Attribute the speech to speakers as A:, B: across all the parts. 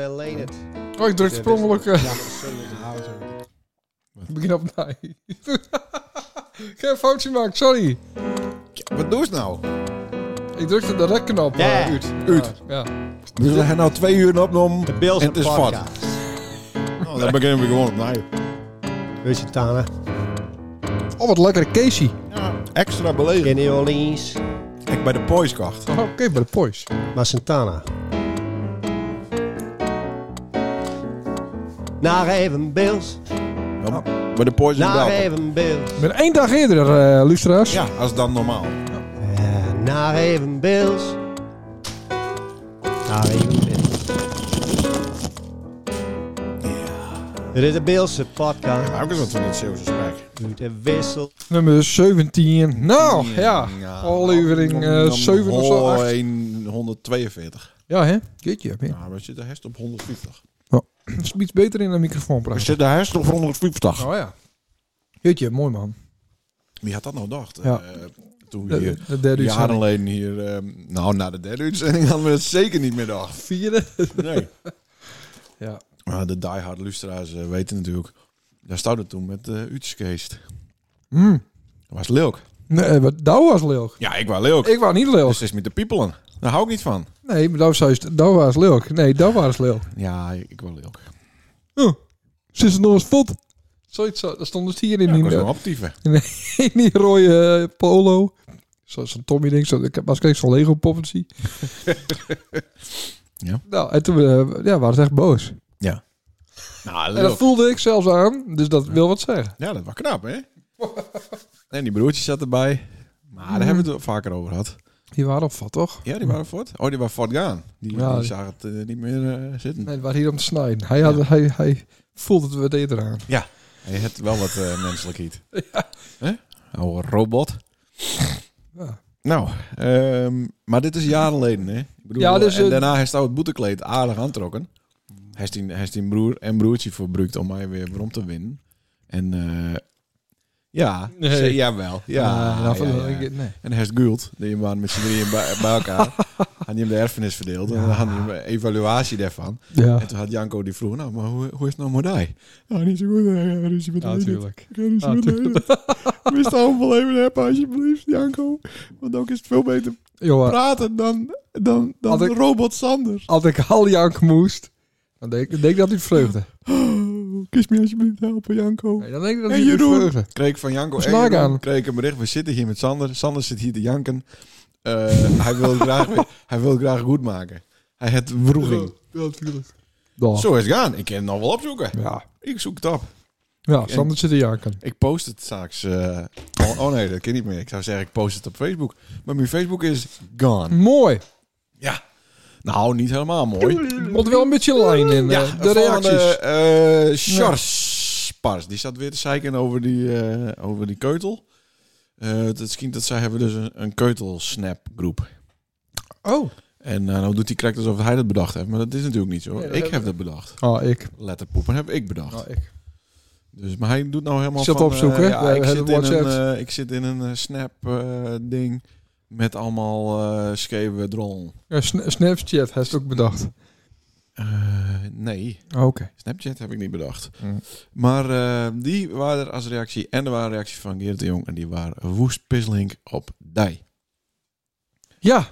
A: related.
B: Oh, ik drukte per ongeluk... eh,
C: eh, Ja, sorry, dat hou zo.
B: begin op nee. ik heb een foutje gemaakt, sorry.
C: Wat doe je nou?
B: Ik drukte de rekknop eh,
A: Ja.
B: uit.
C: Uit.
B: Ja.
C: We zijn nou twee uur opgenomen.
A: De Bills
C: en het is vat.
A: podcast.
C: Nou, dan beginnen we gewoon opnieuw.
A: Weet je Tana?
B: Oh, wat lekkere Casey.
C: Extra belegen.
A: Kenny Orleans.
C: Ik bij de poiskacht.
B: Oh, oké, bij de poys.
A: Maar Santana. Naar even Bills.
C: Ja, Nou, Bij de pois in
A: Naar
C: België.
A: even Bills.
B: Ik ben één dag eerder, eh luisteraars.
C: Ja, als dan normaal.
A: Eh, naar even Bills. Naar even Bills. Dit is de Bills podcast.
C: Hou ik eens wat van het Zeeuwse spek.
A: Uit de wissel.
B: Nummer 17. Nou, ja. Aflevering eh, 7 of zo.
C: Oh,
B: 8.
C: 142.
B: Ja, hè? Jeetje, heb je.
C: Ja, we zitten herst op 150.
B: Is iets beter in een microfoon
C: We
B: praten.
C: zitten herst op 150.
B: Oh ja. Jeetje, mooi man.
C: Wie had dat nou gedacht?
B: Ja.
C: Eh, toen we
B: De,
C: hier
B: de derde
C: jaren
B: uur.
C: alleen hier... eh, nou, na de derde uitzending hadden we dat zeker niet meer gedacht.
B: Vierde.
C: Nee.
B: Ja.
C: Maar de diehard lustra's weten natuurlijk... Daar stond het toen met eh Utskeest. Hmm.
B: Mm.
C: Dat was leuk.
B: Nee, eh, wat, dat was leuk.
C: Ja, ik was leuk.
B: Ik was niet leuk.
C: Dus het is met de piepelen. Daar hou ik niet van.
B: Nee, maar dat, zei ze, dat was leuk. Nee, dat was leuk.
C: Ja, ik was leuk.
B: Zit ze nog eens vod? Zoiets, zo- dat stond dus hier in,
C: Ja, ik was
B: die,
C: wel optieven.
B: in die rode eh, polo. Zo- Zo'n Tommy ding. Zo, ik heb als ik zo'n Lego poppensie.
C: Ja.
B: Nou, en toen eh, ja, waren ze echt boos.
C: Nou,
B: En dat
C: leuk.
B: voelde ik zelfs aan, dus dat wil wat zeggen.
C: Ja, dat was knap, hè? en die broertjes zat erbij. Maar daar hebben we het wel vaker over gehad.
B: Die waren op vat, toch?
C: Hmm. Ja, die waren fort. Oh, die waren fort gaan. Die,
B: Ja,
C: die
B: die-
C: zagen het eh, niet meer eh, zitten.
B: Nee, die waren hier om te snijden. Hij, had, hij, hij voelde het wat eerder aan.
C: Hij had wel wat eh, menselijkheid. Hè? Oude robot.
B: Ja.
C: Nou, ehm, maar dit is jaren geleden, hè? Ik bedoel,
B: Ja, dus,
C: en
B: eh,
C: daarna heeft hij het boetekleed aardig aantrokken. Hij is die- hij is die broer en broertje verbruikt om mij weer rond te winnen. En eh, ja,
B: Nee.
C: ze- jawel. Ja,
B: Eh, nou,
C: ja,
B: van-
C: ja.
B: ik- nee.
C: En hij is Gult, die waren met z'n drieën bij, bij elkaar. Had hij hem de erfenis verdeeld en dan had hij hem een evaluatie daarvan.
B: Ja,
C: En toen had Janko die vroeg, nou, maar hoe, hoe is het nou Modai? Nou, niet zo goed. eh, ruzie met de Edith.
B: natuurlijk.
C: Ik heb niet zo
B: Ah,
C: goed eten. Wist allemaal even hebben, alsjeblieft, Janko. Want ook is het veel beter
B: Jongen,
C: praten dan, dan, dan
B: Had ik-
C: robot Sander.
B: als ik al jank moest, dan denk ik, denk ik dat hij het vreugde.
C: Oh, Kies me alsjeblieft helpen, Janko.
B: Nee, dan denk ik dat
C: En
B: hij het
C: Jeroen.
B: vreugde.
C: Kreeg ik van Janko en
B: Smaak
C: Jeroen,
B: aan.
C: kreeg ik een bericht. We zitten hier met Sander. Sander zit hier te janken. Eh, hij, wil het graag, weer- hij wil het graag goed maken. Hij het vroeging.
B: Ja, natuurlijk. Ja,
C: Zo is het gaan. Ik kan het nog wel opzoeken.
B: ja.
C: Ik zoek het op.
B: ja Sander zit er janken.
C: Ik post het straks. eh, oh, oh nee, dat kan niet meer. Ik zou zeggen, ik post het op Facebook. Maar mijn Facebook is gone.
B: Mooi.
C: Ja. Nou, niet helemaal mooi.
B: Er moet wel een beetje lijn in.
C: Ja,
B: eh, de reacties.
C: eh Charles Spars. Die zat weer te zeiken over die, eh, over die keutel. Eh, het het schijnt dat zij hebben dus een, een keutel-snap-groep.
B: Oh.
C: En eh, nou doet die crack alsof hij dat bedacht heeft. Maar dat is natuurlijk niet zo.
B: Nee, dat
C: ik
B: heb-
C: heb dat bedacht.
B: Ah, ik.
C: Letterpoepen heb ik bedacht.
B: Ah, ik.
C: Dus, maar hij doet nou helemaal
B: Ik zat
C: van...
B: opzoeken,
C: eh,
B: hè?
C: ja,
B: Bij
C: ik,
B: het
C: zit in een,
B: WhatsApp.
C: eh, ik zit in een snap-ding met allemaal eh scheve drol.
B: Ja, Sna- Snapchat heeft het ook bedacht.
C: Eh, nee,
B: Oh, Oké.
C: Snapchat heb ik niet bedacht.
B: Mm.
C: Maar eh, die waren er als reactie. En er waren reacties van Geert de Jong. En die waren woest pisseling op dij.
B: Ja.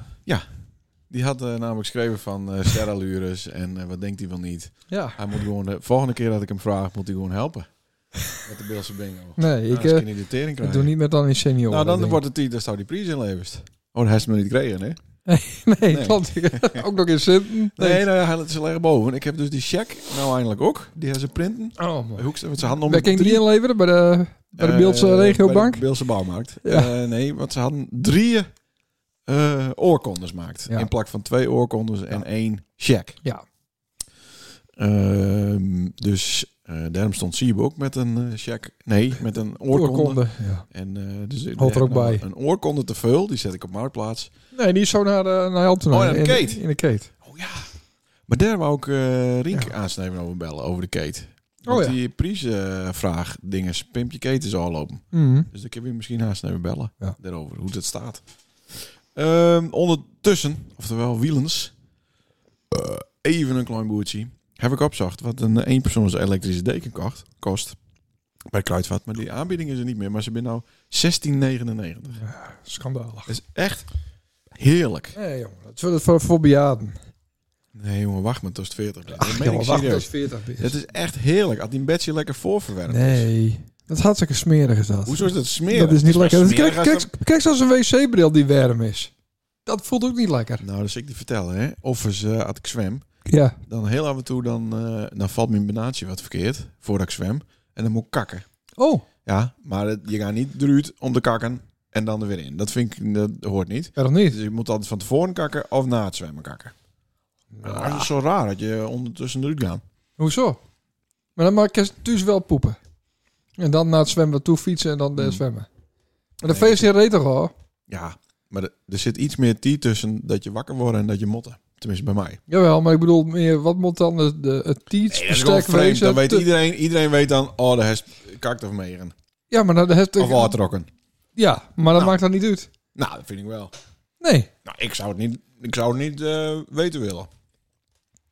C: Die had eh, namelijk geschreven van eh sterallures en eh, wat denkt hij wel niet.
B: Ja.
C: Hij moet gewoon de volgende keer dat ik hem vraag, moet hij gewoon helpen. Met de Beelse bingo. Nou,
B: Nee, ik
C: Anders
B: eh,
C: kan hij de tering
B: ik
C: krijgen.
B: doe niet met dan in senioren.
C: nou, dan
B: ding.
C: wordt het die, daar staat die prijs in levens. Oh, dat heeft ze me niet gekregen, hè?
B: Nee,
C: Nee.
B: klopt. ook nog in zin.
C: Nee, nou ja, het is alleen boven. Ik heb dus die check nou eindelijk ook. Die hebben ze printen.
B: Oh, man.
C: Hoek ze met zijn handen om
B: Wij
C: de
B: kunnen die inleveren bij de, bij de Beeldse
C: Eh, Bij
B: Regiobank.
C: de Beeldse Bouwmarkt.
B: Ja.
C: Eh, nee, want ze hadden drie eh oorkondes gemaakt.
B: Ja.
C: In plak van twee oorkondes en één check.
B: Ja.
C: Ehm, dus eh, daarom stond Siebe ook met een eh, check. Nee, met een oorkonde.
B: Oorkonde. Ja.
C: En, eh, dus ik
B: Hoort er
C: heb
B: ook
C: nog
B: bij.
C: Een oorkonde te veel, die zet ik op Marktplaats.
B: Nee, die is zo naar, eh, naar Helmten.
C: Oh, naar de
B: in,
C: Kate.
B: In de Kate.
C: Oh ja. Maar daar wou ik eh Rienk
B: Ja. Oh
C: aansnijden over bellen, over de Kate. Want
B: ja.
C: die prijsvraag dinges, Pimpje Kate is al open.
B: Mhm.
C: Dus dan kunnen we misschien haast even bellen
B: Ja.
C: daarover, hoe dat staat. Ehm, ondertussen, oftewel Wielens, even een klein boertje. Heb ik opzacht wat een eh, eenpersoons elektrische deken kocht, kost. Bij Kruidvat. Maar die aanbieding is er niet meer. Maar ze zijn nou 16,99.
B: Schandalig.
C: Dat is echt heerlijk.
B: Nee, jongen. Dat is wel voor, voor bejaarden.
C: Nee, jongen, wacht maar tot 40. Dat meen
B: jongen,
C: ik
B: wacht
C: serieus.
B: tot 40 is.
C: Het is echt heerlijk. Als die een bedje lekker voorverwerkt is.
B: Nee. Dat is hartstikke smerig is dat.
C: Hoezo is dat smerig?
B: Dat is niet
C: maar
B: lekker. Dat is-
C: smerig
B: kijk,
C: als
B: kijk, kijk zoals een wc-bril die warm is. Dat voelt ook niet lekker.
C: Nou, dat zal ik die vertellen, hè. Of eens, eh, als ik zwem,
B: Ja.
C: dan heel af en toe dan, eh, dan valt mijn benaatje wat verkeerd, voordat ik zwem. En dan moet ik kakken.
B: Oh.
C: Ja, maar het- je gaat niet eruit om te kakken en dan er weer in. Dat vind ik, dat hoort niet.
B: Ja, nog niet.
C: Dus je moet altijd van tevoren kakken of na het zwemmen kakken. Maar Dat is zo raar dat je ondertussen eruit gaat.
B: Hoezo? Maar dan maak je dus wel poepen. En dan naar het zwemmen toe fietsen en dan eh,
C: Hmm.
B: zwemmen. Maar de
C: Nee.
B: feestje reed toch al?
C: Ja, maar er- er zit iets meer tijd tussen dat je wakker wordt en dat je motten. Tenminste bij mij.
B: Jawel, maar ik bedoel meer, wat moet dan de, de, het teachbestek
C: vreemd.
B: wezen?
C: Dan weet
B: Te-
C: iedereen, iedereen weet dan, oh, daar heeft kakt of meren.
B: Ja, maar dan heeft
C: Of waterrokken.
B: Ja, maar dat
C: Nou.
B: maakt dan niet uit.
C: Nou, dat vind ik wel.
B: Nee,
C: Nou, ik zou het niet, ik zou het niet eh, weten willen.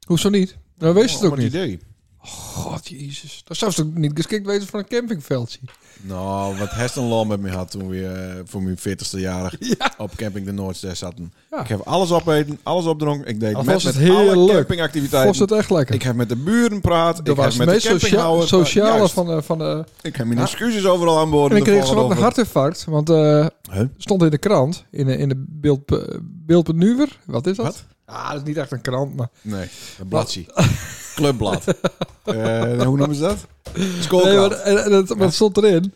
B: hoezo niet? Dan wees het
C: Om
B: ook niet.
C: idee.
B: God, jezus. Dan zou ze toch niet geschikt wezen voor een campingveldje?
C: Nou, wat Heston Law met me had toen we eh, voor mijn 40ste jarig
B: Ja.
C: op camping de Noordzee zaten.
B: Ja.
C: Ik heb alles opeten, alles opdronken. Ik deed
B: Al
C: met,
B: was het
C: met alle
B: heerlijk.
C: campingactiviteiten.
B: Was het echt lekker?
C: Ik heb met de buren praat.
B: dat
C: Ik heb
B: was het
C: met de
B: meest socia
C: campinghouder praat.
B: sociale
C: Juist.
B: van de... Van de
C: Ik heb mijn excuses overal aan boord.
B: en ik kreeg ze ook een hartinfarct, want eh
C: Huh?
B: stond in de krant, in de, in de beeld, eh, beeldbenuwer. Wat is dat?
C: Wat?
B: Ah, dat is niet echt een krant, maar...
C: Nee, een bladje. Clubblad. Eh, hoe noemen ze dat? Schoolblad.
B: Nee, maar en- en dat, wat stond erin?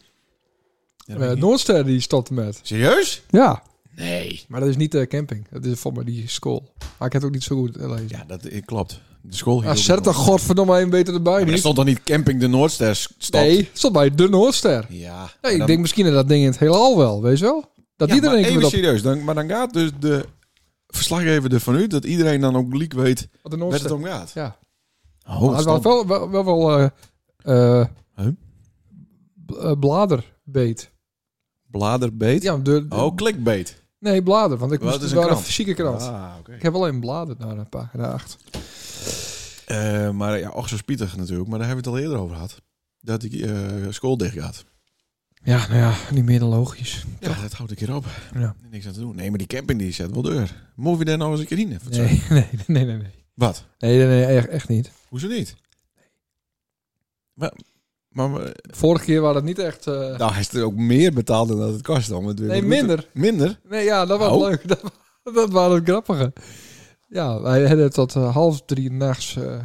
C: Ja,
B: Eh
C: weet ik niet.
B: Noordster die stond met.
C: Serieus?
B: Ja,
C: Nee.
B: maar dat is niet de camping. Dat is volgens mij die school. Maar ik heb het ook niet zo goed eh, lezen.
C: Ja, dat eh, klopt. De school hier.
B: Ah,
C: ook
B: zet er
C: nog.
B: toch godverdomme een beter erbij,
C: Maar er
B: niet?
C: stond toch niet Camping de Noordster stad?
B: nee, het stond bij de Noordster.
C: Ja.
B: Nee,
C: maar
B: ik
C: dan-
B: denk misschien in dat ding in het heelal wel, weet je wel? Dat
C: Ja,
B: iedereen
C: maar
B: keer
C: even
B: dat...
C: serieus. Dan, maar dan gaat dus de verslaggever ervan uit dat iedereen dan ook leak weet
B: wat de
C: waar het
B: Noordster...
C: om gaat.
B: Ja,
C: Oh,
B: maar het was
C: stom.
B: wel wel, wel, wel eh, eh,
C: Huh?
B: b- eh, bladerbeet.
C: bladerbeet.
B: Ja, de, de-
C: Oh, clickbait.
B: Nee, blader, want ik
C: Wat
B: moest
C: is
B: het
C: een
B: wel een
C: krant?
B: fysieke krant.
C: Ah, oké.
B: Ik heb alleen blader naar een pagina 8.
C: Eh, maar ja, och zo spietig natuurlijk. Maar daar hebben we het al eerder over gehad. Dat die eh, school dicht gaat.
B: Ja, nou ja, niet meer dan logisch.
C: Ja, dat houdt een keer op.
B: Ja.
C: Niks aan te doen. Nee, maar die camping die zet wel deur. Moet je daar nou eens een keer in? Wat zeg je?
B: Nee, nee, nee, nee, nee.
C: Wat?
B: Nee, nee, nee, echt, echt niet.
C: Hoezo niet? Maar, maar, maar-
B: Vorige keer was het niet echt... eh,
C: nou, hij is er ook meer betaald dan dat het kost om het weer
B: nee,
C: goed te-
B: minder.
C: Minder?
B: Nee, ja, dat was
C: Oh.
B: leuk. Dat, dat waren het grappige. Ja, wij hadden tot eh, half drie nachts eh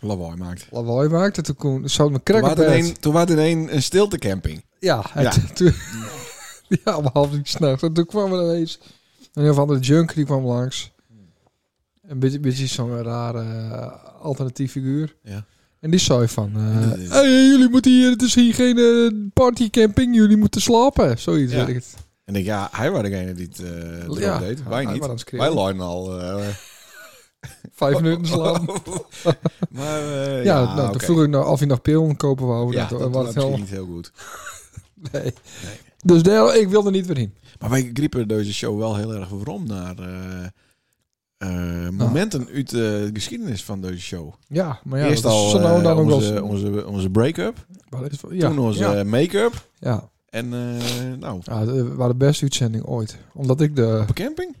C: Lawaai maakt.
B: lawaai gemaakt. En toen kon, zat mijn krek
C: Toen
B: op
C: was,
B: bed.
C: een, toen was er een, een stiltecamping.
B: Ja, en
C: Ja.
B: toen... ja, om half drie s'nachts. En toen kwam er ineens een heel andere junk die kwam langs. Een beetje, beetje zo'n rare eh, alternatief figuur.
C: Ja.
B: En die zei van... eh,
C: Dat is-
B: "Hey, jullie moeten hier... Het is hier geen eh, partycamping. Jullie moeten slapen. Zoiets,
C: Ja.
B: weet ik het.
C: En ik, ja, hij was degene die het eh, erop
B: Ja,
C: deed.
B: hij
C: Wij
B: was
C: niet.
B: aan het schreeuwen.
C: Wij lijn al. eh, Oh,
B: Vijf minuten slapen.
C: maar eh,
B: Ja, nou, toen
C: oké.
B: vroeg ik nou of je nog pillen kopen wou.
C: ja,
B: Ja,
C: dat,
B: dat, was het
C: was misschien
B: helemaal...
C: niet heel goed.
B: Nee. Dus daar, ik wilde niet weer in.
C: Maar wij griepen deze show wel heel erg waarom naar eh,
B: Ah.
C: eh, momenten uit de geschiedenis van deze show.
B: Ja, maar ja,
C: Eerst
B: dat is
C: al
B: zo nou en
C: eh,
B: dan ook wel
C: onze,
B: eens-
C: onze, onze break-up,
B: wel eens- ja,
C: toen onze
B: ja,
C: make-up
B: ja.
C: en eh, nou,
B: Ja, dat waren de beste uitzending ooit. Omdat ik de,
C: op een camping.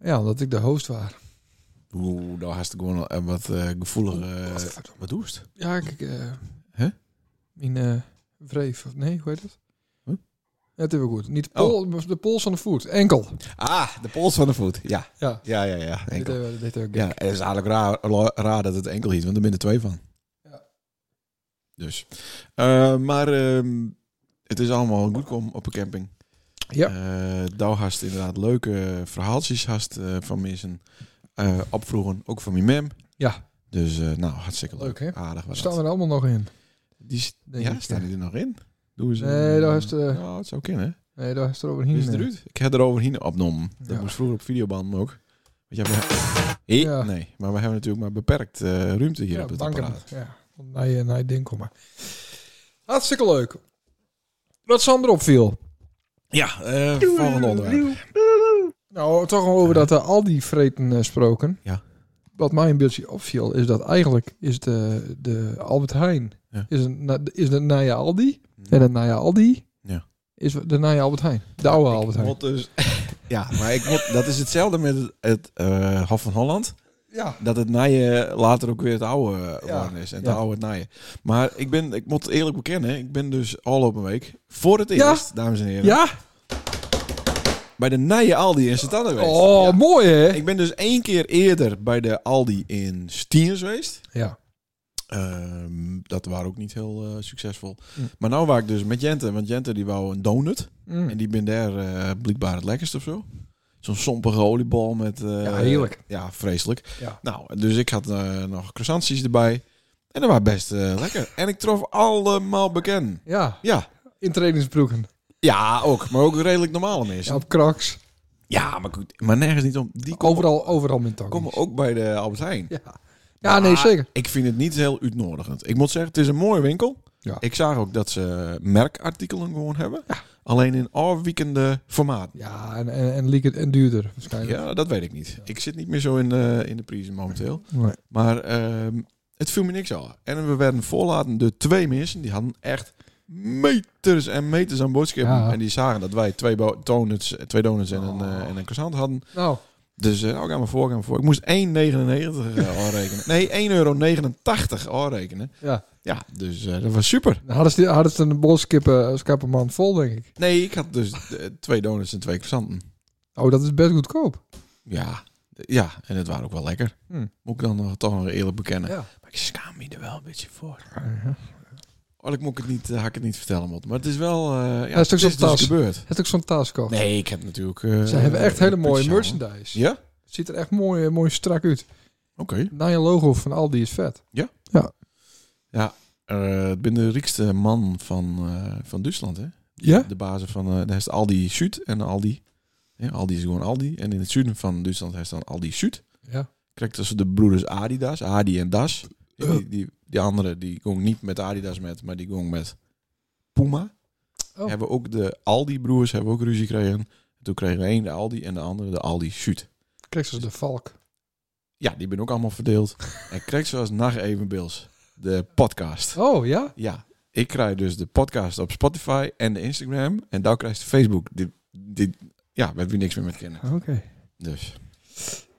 B: ja, omdat ik de host was.
C: Oeh, daar had ik gewoon een wat eh gevoelige... eh,
B: Godverdomme.
C: wat doest?
B: Ja, ik... eh
C: Hè?
B: Mijn eh wreef, of nee, hoe heet dat?
C: Huh? Oh.
B: Net even goed. Niet de, pol, de pols van de voet, enkel.
C: Ah, de pols van de voet. Ja,
B: Ja,
C: ja, ja. ja.
B: dit
C: Enkel.
B: hebben we- dit eh, hebben we-
C: Ja, en het is eigenlijk raar, la- raar dat het enkel hiet, want er zijn er twee van.
B: Ja.
C: Dus. Eh, maar ehm, het is allemaal goed kom op een camping.
B: Ja.
C: Eh, daar hast inderdaad leuke verhaaltjes hast, eh, van mensen eh opvroegen, ook van mijn mem.
B: Ja.
C: Dus eh, nou, hartstikke leuk.
B: Leuk,
C: Aardig was
B: Staan
C: dat.
B: we er allemaal nog in?
C: Die, s-
B: denk
C: ja,
B: ik,
C: staan
B: ja.
C: die er nog in? Doen ze
B: Nee, daar eh, is de-
C: Nou, het zou kunnen.
B: Nee, daar is er overheen.
C: Dus
B: eh,
C: eruit. Ik heb er overheen opgenomen. Dat
B: Ja.
C: moest vroeger op videoband ook. Want je hebt... Eh,
B: Ja.
C: Nee, maar we hebben natuurlijk maar beperkt eh, ruimte hier
B: ja,
C: op het
B: banken.
C: apparaat.
B: Ja, naar je, naar je ding komen. Hartstikke leuk. Wat Sander opviel.
C: Ja, eh, volgende onderwerp.
B: Nou, toch over dat eh, al die vreten eh, gesproken.
C: Ja.
B: wat mij een beetje opviel, is dat eigenlijk is de, de Albert Heijn
C: Ja.
B: is, een, na- is de Naya Aldi. En de Naya Aldi
C: Ja.
B: is de Naya Albert Heijn. De oude Albert Heijn.
C: Moet dus, ja, maar ik moet, dat is hetzelfde met het, het eh, Hof van Holland.
B: Ja.
C: Dat het naaien later ook weer het oude eh,
B: Ja.
C: worden is. En het
B: Ja.
C: oude het naaien. Maar ik ben, ik moet eerlijk bekennen, ik ben dus al op een week voor het
B: Ja.
C: eerst, dames en heren,
B: Ja?
C: bij de naaien Aldi in Sint geweest.
B: Oh, mooi hè?
C: Ik ben dus één keer eerder bij de Aldi in Stiens geweest.
B: Ja.
C: Ehm, dat waren ook niet heel eh, succesvol.
B: Hm.
C: Maar nou waar ik dus met Jente, want Jente die wou een donut.
B: Mm.
C: En die ben daar eh, blijkbaar het lekkerst of zo. Zo'n sompige oliebal met... eh,
B: Ja, heerlijk.
C: Ja, vreselijk.
B: Ja.
C: Nou, dus ik had eh, nog croissantjes erbij. En dat was best eh, lekker. En ik trof allemaal bekend.
B: Ja,
C: Ja.
B: in trainingsbroeken.
C: Ja, ook. Maar ook redelijk normale
B: Ja,
C: mensen. Ja,
B: op Crocs.
C: maar, goed, maar nergens niet om. Die komen,
B: Overal, overal met tang.
C: komen ook bij de Albert Heijn.
B: Ja. ja, nee,
C: Maar
B: zeker.
C: Ik vind het niet heel uitnodigend. Ik moet zeggen, het is een mooie winkel.
B: Ja.
C: Ik zag ook dat ze merkartikelen gewoon hebben. Alleen in afwiekende formaten.
B: Ja, en, en, en, liek het- en duurder waarschijnlijk.
C: Ja, dat weet ik niet. Ik zit niet meer zo in de, in de prijzen momenteel.
B: Nee.
C: Maar ehm, het viel me niks aan. En we werden voorlaten door twee mensen. Die hadden echt meters en meters aan boodschappen.
B: Ja.
C: En die zagen dat wij twee bo- donuts, twee donuts en, een, eh, en een croissant hadden.
B: Nou,
C: Dus eh, oh, ga maar voor, ga maar voor. Ik moest 1,99 eh, aanrekenen. Nee, 1,89 euro aanrekenen.
B: ja.
C: Ja, dus eh, dat was super.
B: Dan Hadden ze, hadden ze een boskippen skapperman vol, denk ik.
C: Nee, ik had dus eh, twee donuts en twee croissanten.
B: Oh, dat is best goedkoop.
C: Ja, ja en het waren ook wel lekker.
B: Hm.
C: Moet ik dan nog, toch nog eerlijk bekennen.
B: Ja.
C: Maar ik schaam me er wel een beetje voor. Oh, ik moet het niet, eh, had ik het niet vertellen, Mot. Maar het is wel... eh, ja,
B: is
C: het
B: toch
C: is
B: zo'n
C: dus
B: tas?
C: gebeurd.
B: Het is ook zo'n taaskoop.
C: Nee, ik heb natuurlijk... eh,
B: Ze hebben echt hele
C: een
B: mooie
C: puntje aan,
B: merchandise.
C: hoor. Ja? Oké.
B: Het ziet er echt mooi, eh, mooi strak uit. Nou, je logo van Aldi is vet.
C: Eh, ik ben de rijkste man van, eh, van Duitsland, hè?
B: Ja?
C: De bazen van... eh daar is het Aldi Zuid en Aldi. Ja, Aldi is gewoon Aldi. En in het zuiden van Duitsland is dan Aldi Zuid.
B: Ja.
C: Krijgt tussen de broeders Adidas, Adi en Das.
B: Eh.
C: Die, die, die andere, die gong niet met Adidas met, maar die gong met Puma.
B: Oh.
C: Hebben ook de Aldi-broers hebben ook ruzie gekregen. Toen kregen de een de Aldi en de andere de Aldi Zuid.
B: Krijg ze de valk.
C: Ja, die ben ook allemaal verdeeld. en kreeg zoals Nacht Evenbeels de podcast.
B: Oh, ja?
C: Ja, ik krijg dus de podcast op Spotify en de Instagram. En daar krijg je Facebook. Die, die, ja, we hebben niks meer met kennen.
B: Oké.
C: Dus.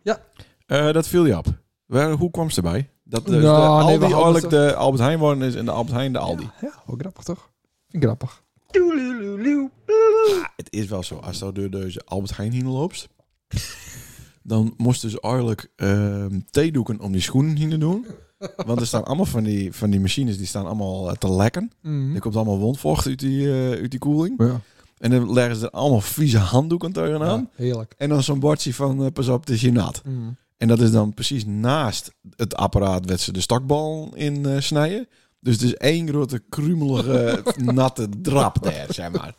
B: Ja.
C: Eh, dat viel je op. Waar, hoe kwam ze erbij? Dat dus
B: Nou,
C: de
B: nee,
C: Aldi
B: we hadden
C: eigenlijk
B: het-
C: de Albert Heijn worden is en de Albert Heijn de Aldi.
B: Ja, ja, wel grappig toch? Vind ik grappig.
C: Ja, het is wel zo. Als je door deze Albert Heijn heen loopt, dan moesten ze eigenlijk ehm, theedoeken om die schoenen heen te doen. Want er staan allemaal van die, van die machines, die staan allemaal eh, te lekken.
B: Mhm.
C: Er komt allemaal wondvocht uit die, eh, uit die koeling.
B: Ja.
C: En dan leggen ze er allemaal vieze handdoeken tegenaan.
B: Ja, heerlijk.
C: En dan zo'n bordje van, eh, pas op, het is hier nat.
B: Mhm.
C: En dat is dan precies naast het apparaat waar ze de stakbal in eh, snijden. Dus het is één grote, krumelige, natte drap daar, zeg maar.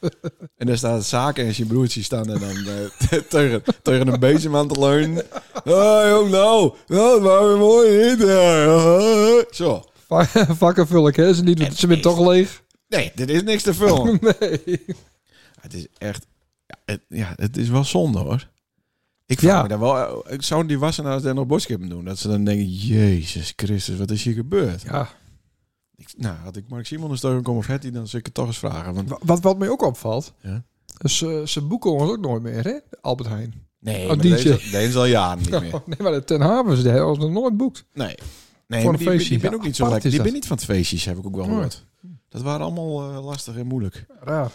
C: En daar staan zaken en zijn broertje staan en dan eh, tegen, tegen een bezem aan te leunen. Oh, jong, nou, nou, dat was weer mooi niet. eh, eh. Zo.
B: Va- Vakken vul ik, hè? Ze, niet, ze zijn toch leeg?
C: Nee, dit is niks te vullen.
B: Nee.
C: Het is echt... Ja, het, ja, het is wel zonde, hoor. Ik vraag
B: Ja.
C: me daar wel... Ik zou die nou wassenaars daar nog boodschappen doen. Dat ze dan denken, jezus Christus, wat is hier gebeurd?
B: Ja.
C: Ik, nou, had ik Mark Simon een steun komen of Hetty, dan zou ik het toch eens vragen. Want,
B: Wa- Wat, wat mij ook opvalt,
C: Ja.
B: ze, ze boeken ons ook nooit meer, hè? Albert Heijn.
C: nee,
B: maar
C: deze,
B: deze-
C: deze is al jaren niet meer.
B: nee, maar de Ten Havens, die hebben ons nog nooit boekt.
C: Nee. Nee,
B: Voor
C: maar
B: een
C: die, die,
B: feestje.
C: ben ook
B: Ja,
C: niet zo
B: apart is
C: lekker. Die
B: dat.
C: ben niet van het feestjes, heb ik ook wel
B: Nee.
C: gehoord. Dat waren allemaal eh, lastig en moeilijk.
B: Raar.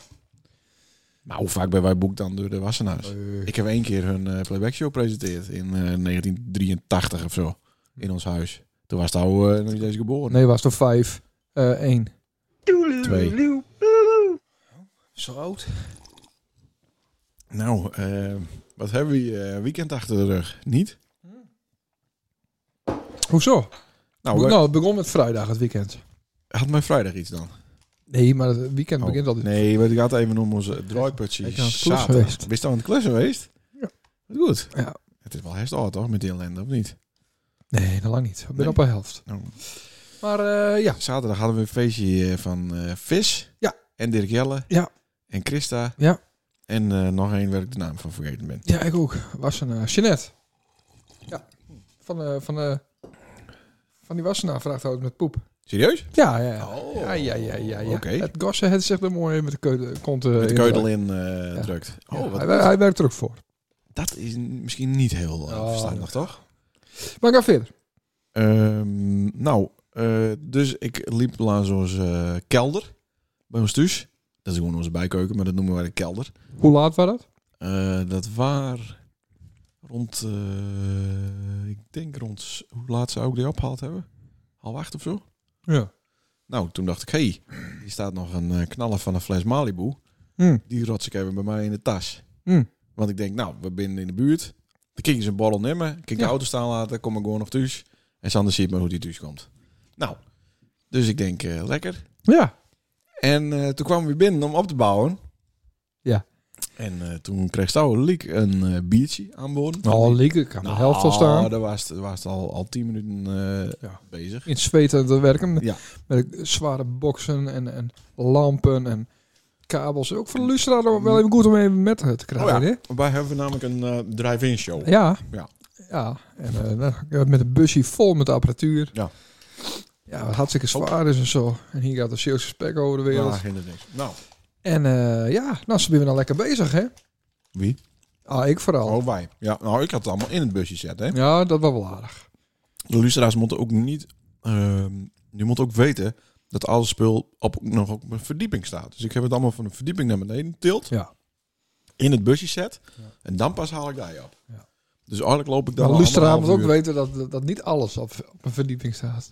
C: Maar hoe vaak ben wij boek dan door de Wassenaars? Ik heb één keer hun eh, playback show gepresenteerd in eh, 1983 of zo. In ons huis. Toen was het al nog niet eens geboren.
B: Nee, was toch vijf? eh één.
C: Twee.
B: Zo oud?
C: Nou, eh, wat hebben we hier, eh, weekend achter de rug? Niet?
B: Hoezo?
C: Nou,
B: Be-
C: wij-
B: nou, het begon met vrijdag, het weekend.
C: had mijn vrijdag iets dan?
B: Nee, maar het weekend
C: Oh,
B: begint altijd.
C: Nee, we gaat even om onze draaiputje.
B: Ik ben aan het klussen
C: zaterdag.
B: geweest.
C: Bist dan aan het klussen geweest?
B: Ja.
C: Wat Goed.
B: Ja.
C: Het is wel herfst al, toch? Met die ellende, of niet?
B: Nee, nog lang niet. Ik ben
C: Nee.
B: op de helft.
C: Nou,
B: Maar eh, ja.
C: zaterdag hadden we een feestje eh, van eh, Vis.
B: Ja.
C: En Dirk Jelle.
B: Ja.
C: En Christa.
B: Ja.
C: En eh, nog één waar ik de naam van vergeten ben.
B: ja, ik ook. Was een eh, Jeanette. Ja. van, eh, van, eh, van die wassenaar vraagt ook met poep.
C: Serieus?
B: Ja, ja.
C: Oh.
B: Ja, ja, ja, ja. ja.
C: Oké.
B: Het gossen het zegt er mooi met de keutel, kont, eh,
C: Met de
B: in
C: keutel
B: de-
C: in eh,
B: Ja.
C: drukt.
B: Ja,
C: Oh, wat
B: hij, hij werkt er ook voor.
C: Dat is n- misschien niet heel eh,
B: Oh,
C: verstandig, toch?
B: Maar ga verder.
C: Ehm, nou, eh, dus ik liep langs onze eh, kelder bij ons thuis. Dat is gewoon onze bijkeuken, maar dat noemen wij de kelder.
B: Hoe laat was dat?
C: Eh, dat waar rond, eh, ik denk rond, hoe laat zou ik die opgehaald hebben? Half acht of zo?
B: Ja.
C: Nou, toen dacht ik, hé, hey, hier staat nog een eh, knaller van een fles Malibu.
B: Hm.
C: Die rots ik even bij mij in de tas.
B: Hm.
C: Want ik denk, nou, we binnen in de buurt. Dan kijk je zijn borrel nemen. Kijk de
B: Ja.
C: auto staan laten. Kom ik gewoon nog thuis. En Sander ziet maar hoe die thuis komt. Nou, dus ik denk, eh, lekker.
B: Ja.
C: En eh, toen kwamen we weer binnen om op te bouwen.
B: Ja.
C: En eh, toen kreeg Stouw Liek een eh, biertje aanboden.
B: Nou, Lieke kan de helft al staan.
C: Daar was het, was het al, al tien minuten eh,
B: Ja.
C: bezig.
B: In het zweet aan het werken.
C: Ja.
B: Met zware boksen en, en lampen en kabels. Ook voor de lustrader wel even goed om even met te krijgen.
C: Oh
B: hè?
C: Wij hebben namelijk een eh, drive-in show.
B: Ja.
C: Ja.
B: Ja. En eh, nou, ik had met een busje vol met apparatuur.
C: Ja.
B: Ja, wat hartstikke zwaar is en zo. En hier gaat de Zeeuwse spek over de wereld.
C: Ja, inderdaad. Nou,
B: En eh, ja, nou, ze zijn we dan lekker bezig, hè?
C: wie?
B: Ah, ik vooral.
C: Oh, wij. Ja, nou, ik had het allemaal in het busje zetten. Hè?
B: Ja, dat was wel aardig.
C: De luisteraars moeten ook niet... ehm je moet ook weten dat alles spul op, nog op een verdieping staat. Dus ik heb het allemaal van de verdieping naar beneden getild.
B: Ja.
C: In het busje zet.
B: Ja.
C: En dan pas haal ik daar op.
B: Ja.
C: Dus eigenlijk loop ik
B: De
C: daar... al
B: luisteraar moet ook
C: anderhalf
B: weten
C: uur-
B: dat, dat, dat niet alles op, op een verdieping staat.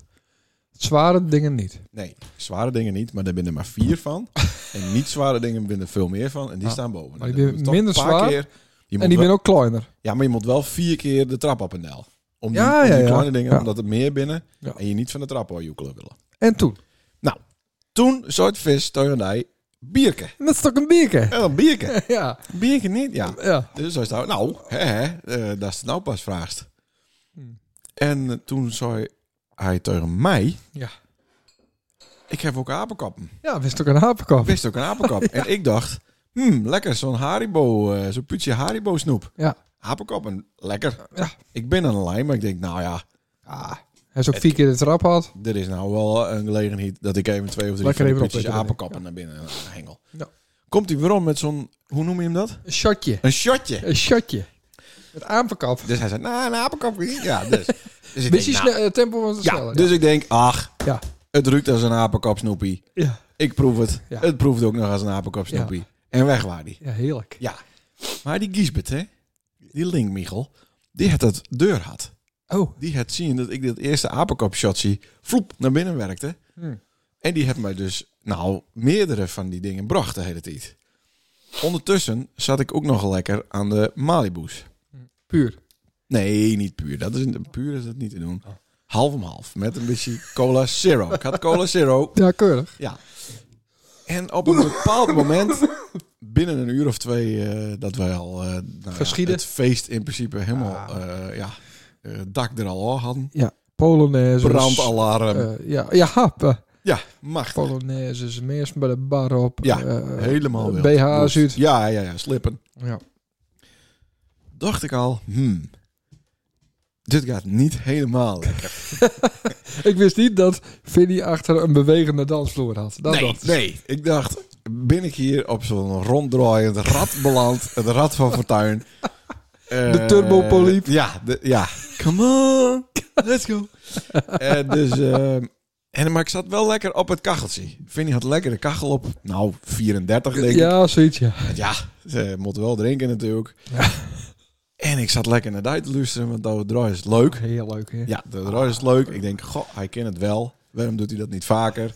B: Zware dingen niet.
C: Nee, zware dingen niet. Maar daar binnen er maar vier van. en niet zware dingen binnen er veel meer van. En die
B: Ah,
C: staan boven.
B: maar die
C: En dan
B: ben
C: moet je toch
B: minder
C: een paar
B: zwaar.
C: keer- je
B: en
C: moet
B: die
C: wel-
B: ben ook kleiner.
C: Ja, maar je moet wel vier keer de trap op en nel. Om die,
B: Ja,
C: om die
B: ja, ja.
C: kleine dingen,
B: Ja.
C: omdat er meer binnen.
B: Ja.
C: En je niet van de trap hoor, joekelen willen.
B: En toen.
C: Toen soort vis, Toyondai, bierke.
B: En dat is toch Oh, een bierke?
C: En dan bierke.
B: ja.
C: bierke niet, ja.
B: ja.
C: Dus zo is het nou, nou, hè, hè, eh, dat is het nou pas vraagst.
B: Hmm.
C: En eh, toen zei hij tegen mij...
B: Ja.
C: Ik heb ook apenkappen.
B: Ja, wist ook een hapenkap.
C: Ik wist ook een apenkap. En ik dacht, hmm, lekker, zo'n Haribo, eh, zo'n putje Haribo snoep.
B: Ja.
C: Apenkappen, lekker.
B: Ja.
C: Ik ben aan de lijn, maar ik denk, nou ja,
B: Ah, hij is ook vier keer de trap had.
C: Er is nou wel een gelegenheid dat ik even twee of drie
B: Lekker
C: van die
B: even
C: pitjes
B: opeten,
C: apenkappen naar binnen hengel.
B: Ja.
C: Komt hij weer om met zo'n, hoe noem je hem dat?
B: Een shotje.
C: Een shotje.
B: Een shotje. Met apenkap.
C: Dus hij zei, nou, een apenkap. Ja, dus. dus ik
B: Beetje
C: denk,
B: snel, het tempo was het
C: nou, ja,
B: sneller.
C: dus ik denk, ach,
B: Ja.
C: het ruikt als een apenkap snoepie.
B: Ja.
C: Ik proef het.
B: Ja.
C: Het proeft ook nog als een apenkap snoepie. En weg waar die.
B: ja, heerlijk.
C: Ja. Maar die Giesbert, hè, die Link Michel, die had het deur had.
B: Oh.
C: Die had zien dat ik dit eerste apenkap shotje vloep naar binnen werkte.
B: Hm.
C: En die heeft mij dus, nou, meerdere van die dingen bracht de hele tijd. Ondertussen zat ik ook nog lekker aan de Malibu's.
B: Puur.
C: Nee, niet puur. Dat is, puur is dat niet te doen.
B: Oh.
C: Half om half, met een beetje cola zero. Ik had cola zero.
B: Ja, keurig.
C: Ja. En op een bepaald moment, binnen een uur of twee, eh, dat wij al eh, nou ja,
B: Geschieden. Ah.
C: het feest in principe helemaal, eh, ja, eh, het dak er al af hadden.
B: Polonaise.
C: Brandalarm.
B: Eh, ja, ja, happen.
C: ja, macht.
B: Polonaises, mensen bij de bar op.
C: Ja,
B: eh,
C: Helemaal
B: eh,
C: wild.
B: BH
C: Bloed.
B: zuid.
C: Ja, ja, ja, slippen.
B: Ja.
C: dacht ik al, hmm, dit gaat niet helemaal lekker.
B: Ik wist niet dat Vinnie achter een bewegende dansvloer had. Nou Dat dacht ik.
C: nee. Ik dacht, ben ik hier op zo'n ronddraaiend rad beland, het rad van Fortuin. Eh,
B: De turbopoliep.
C: Ja, de, ja. Come on, let's go. Eh, dus, eh, en, maar ik zat wel lekker op het kacheltje. Vinnie had lekker de kachel op, nou, 34 denk ik.
B: Ja, zoiets, ja.
C: Ja, ze moet wel drinken natuurlijk.
B: Ja.
C: En ik zat lekker naar die te luisteren, want dat draai is leuk.
B: Heel leuk, hè?
C: Ja, de Roy is leuk. Ik denk, goh, hij kent het wel. Waarom doet hij dat niet vaker?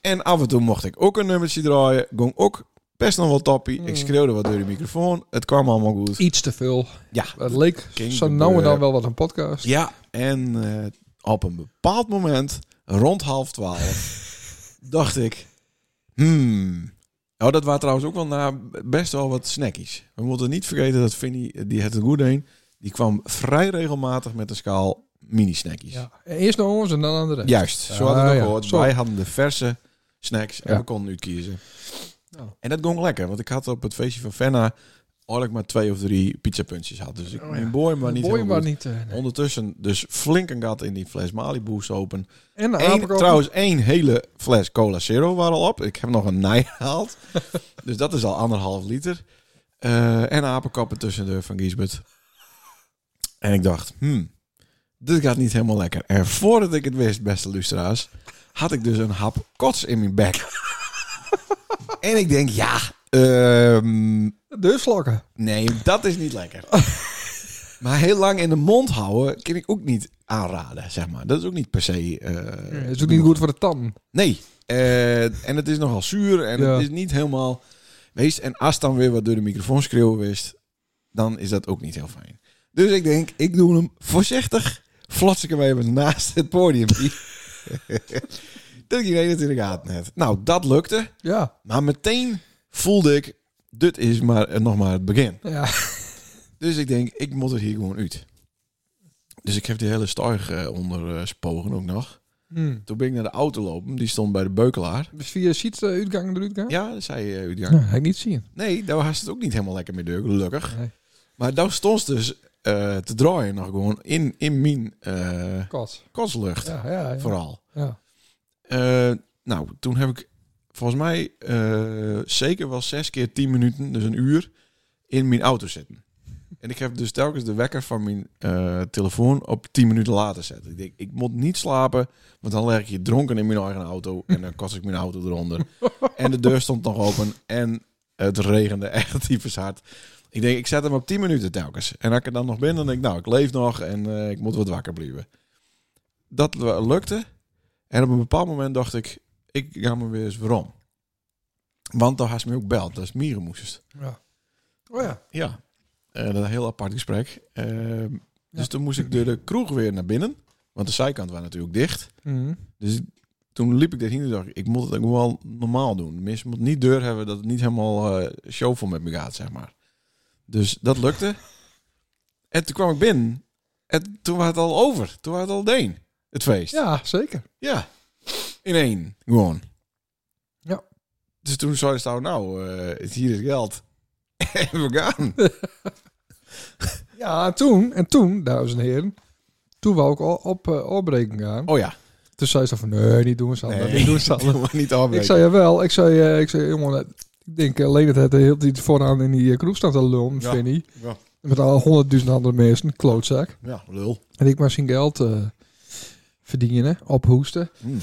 C: En af en toe mocht ik ook een nummertje draaien. Gong ook best nog wel toppie. Ik schreeuwde wat door de microfoon. Het kwam allemaal goed.
B: Iets te veel.
C: Ja.
B: Het leek
C: Ging
B: zo nou en dan
C: gebeuren.
B: wel wat een podcast.
C: Ja, en eh, op een bepaald moment, rond half twaalf, dacht ik... Hmm... Oh, dat waren trouwens ook wel na best wel wat snackies. We moeten niet vergeten dat Vinnie, eh, die het goed heen, die kwam vrij regelmatig met een schaal mini-snackies.
B: Ja. Eerst naar ons en dan aan de rest.
C: Juist, zo hadden
B: Ah,
C: we het ook
B: ja.
C: gehoord.
B: Zo.
C: Wij hadden de verse snacks en
B: Ja.
C: we konden uitkiezen.
B: Nou.
C: En dat ging lekker, want ik had op het feestje van Fenna had ik maar twee of drie pizzapuntjes had. Dus ik
B: Oh ja.
C: neem boy maar niet
B: Boy
C: heel
B: maar
C: goed.
B: niet. eh, nee.
C: Ondertussen dus flink een gat in die fles Malibu open.
B: En de
C: Eén,
B: apenkoppen.
C: trouwens, één hele fles Cola Zero waren al op. Ik heb nog een nij gehaald. dus dat is al anderhalf liter. Eh, en apenkappen tussendoor van Giesbert. En ik dacht, hmm, dit gaat niet helemaal lekker. En voordat ik het wist, beste luisteraars, had ik dus een hap kots in mijn bek. en ik denk, ja, ehm,
B: De slokken.
C: nee, dat is niet lekker. maar heel lang in de mond houden, kan ik ook niet aanraden, zeg maar. Dat is ook niet per se... eh,
B: Het is ook niet goed voor de tanden.
C: Nee. Eh, en het is nogal zuur en
B: Ja.
C: het is niet helemaal wees. En als dan weer wat door de microfoon schreeuwen wist, dan is dat ook niet heel fijn. Dus ik denk, ik doe hem voorzichtig. Flots ik hem even naast het podium. dat ik idee natuurlijk had net. Nou, dat lukte.
B: Ja.
C: Maar meteen voelde ik, dit is maar, eh, nog maar het begin.
B: Ja.
C: Dus ik denk, ik moet er hier gewoon uit. Dus ik heb die hele stuig eh, onder eh, spogen ook nog.
B: Hm.
C: Toen ben ik naar de auto lopen, die stond bij de beukelaar.
B: Dus via ziet de uitgang de uitgang?
C: Ja, dat zei eh Udian.
B: Ja, heb ik niet zien.
C: Nee, daar was het ook niet helemaal lekker mee door, gelukkig.
B: Nee.
C: Maar daar stond ze dus eh, te draaien nog gewoon in, in mijn eh
B: Kot.
C: kotslucht,
B: Ja, ja, ja.
C: vooral.
B: Ja.
C: Eh, nou, toen heb ik volgens mij eh, zeker wel zes keer tien minuten, dus een uur, in mijn auto zitten. En ik heb dus telkens de wekker van mijn eh, telefoon op tien minuten later zetten. Ik denk, ik moet niet slapen, want dan leg ik je dronken in mijn eigen auto en dan kost ik mijn auto eronder. en de deur stond nog open en het regende echt tyfus hard. Ik denk, ik zet hem op 10 minuten telkens. En als ik er dan nog ben, dan denk ik, nou, ik leef nog en eh, ik moet wat wakker blijven. Dat lu- lukte. En op een bepaald moment dacht ik, ik ga me weer eens waarom. Want dan had ze me ook belt, dat is mierenmoest.
B: Ja. Oh ja.
C: Ja. Eh, dat is een heel apart gesprek. Ehm, Dus
B: Ja.
C: toen moest ik door de kroeg weer naar binnen. Want de zijkant was natuurlijk dicht.
B: Hm.
C: Dus ik- toen liep ik daarheen en dacht ik, ik moet het ook wel normaal doen. Mensen moet niet deur hebben dat het niet helemaal eh showvol met me gaat, zeg maar. Dus dat lukte. En toen kwam ik binnen. En toen was het al over. Toen was het al deen, het feest.
B: Ja, zeker.
C: Ja. In één. Gewoon.
B: Ja.
C: Dus toen zei ze nou, nou, eh, hier is geld. en we gaan.
B: Ja, en toen, en toen, dames en heren, toen we ook al op eh, opbreken gaan.
C: Oh ja.
B: Toen zei ze van, nee, niet doen, Sander.
C: Nee.
B: Niet doen, Sander.
C: maar niet
B: ik
C: afbreken.
B: zei, jawel. Ik zei, eh, ik zei, jongen, eh, ik denk alleen dat het de hele tijd vooraan in die eh, kroeg staat te lullen,
C: Ja.
B: Vinnie.
C: Ja.
B: Met al honderdduizend andere mensen, klootzak.
C: Ja, lul.
B: En ik maar zijn geld eh, verdienen, ophoesten.
C: Hm.